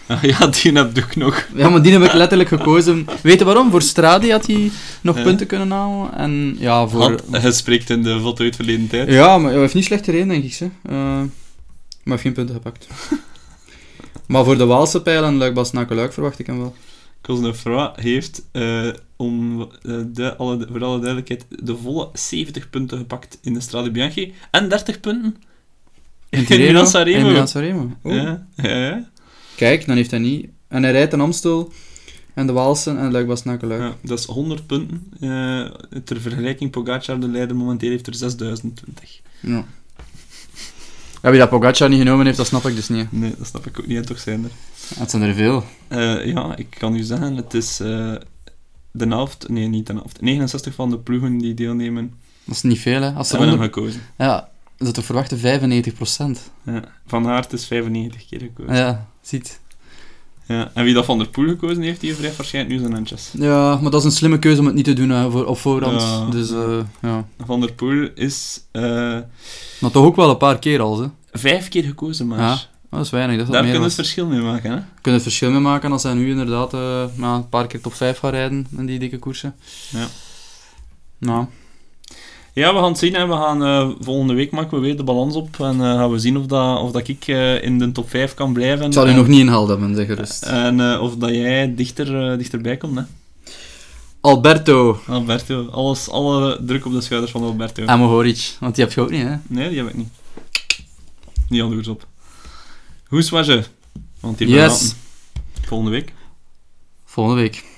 S1: Ah, ja, die heb ik ook nog.
S3: Ja, maar die heb ik letterlijk gekozen. Weet je waarom? Voor Stradi had hij nog
S1: Ja.
S3: punten kunnen halen. En ja, voor...
S1: Want hij spreekt in de voltooid verleden tijd.
S3: Ja, maar hij heeft niet slecht gereden, denk ik. Ze. Eh, maar hij heeft geen punten gepakt. maar voor de Waalse pijl en Luik Bastenaken-Luik verwacht ik hem wel.
S1: Cosnefroid heeft, eh, om, eh, de, alle, voor alle duidelijkheid, de volle 70 punten gepakt in de Strade Bianchi en 30 punten in de
S3: Tirreno
S1: Milan-San
S3: en
S1: Remo.
S3: Milan-Sanremo. Oeh.
S1: Ja, ja, ja.
S3: Kijk, dan heeft hij niet... En hij rijdt in Amstel en de Waalse en Luik Bastenaken-Luik.
S1: Ja, dat is 100 punten. Eh, ter vergelijking, Pogacar, de leider, momenteel heeft er 6020.
S3: Ja. Ja, wie dat Pogacar niet genomen heeft, dat snap ik dus niet.
S1: Nee, dat snap ik ook niet, en toch zijn er.
S3: Het zijn er veel.
S1: Eh, ja, ik kan u zeggen, het is eh, de helft, nee, niet de helft, 69 van de ploegen die deelnemen,
S3: Dat is niet veel, hè. Als er
S1: hebben hem
S3: onder...
S1: gekozen.
S3: Ja, dat te verwachten 95
S1: Ja. Van Aert is 95 keer gekozen. Ja.
S3: Ja, ziet.
S1: En wie dat Van der Poel gekozen heeft, die wrijft waarschijnlijk nu zijn handjes.
S3: Ja, maar dat is een slimme keuze om het niet te doen hè, voor, op voorhand.
S1: Ja.
S3: Dus eh, ja.
S1: Van der Poel is eh,
S3: Maar toch ook wel een paar keer al. Hè.
S1: vijf keer gekozen, maar
S3: Ja, Dat is weinig. Dat is wat
S1: daar
S3: meer
S1: kunnen we
S3: was.
S1: het verschil mee maken. Hè?
S3: We kunnen het verschil mee maken als hij nu inderdaad eh, ja, een paar keer top 5 gaat rijden in die dikke koersen.
S1: Ja.
S3: Nou,
S1: Ja, we gaan het zien. Hè. We gaan, eh, volgende week maken we weer de balans op. En eh, gaan we zien of, dat, of dat ik eh, in de top 5 kan blijven.
S3: ik zal u
S1: en,
S3: nog niet inhalen hebben, zeg gerust.
S1: En eh, of dat jij dichter, eh, dichterbij komt. Hè.
S3: Alberto
S1: Alberto, Ah, alles, alle druk op de schouders van Alberto.
S3: en Mohoric. Want die heb je ook niet, hè?
S1: Nee, die heb ik niet. Niet anders op. Hoe was je? Want die
S3: Yes.
S1: verlaten. Volgende week.
S3: Volgende week.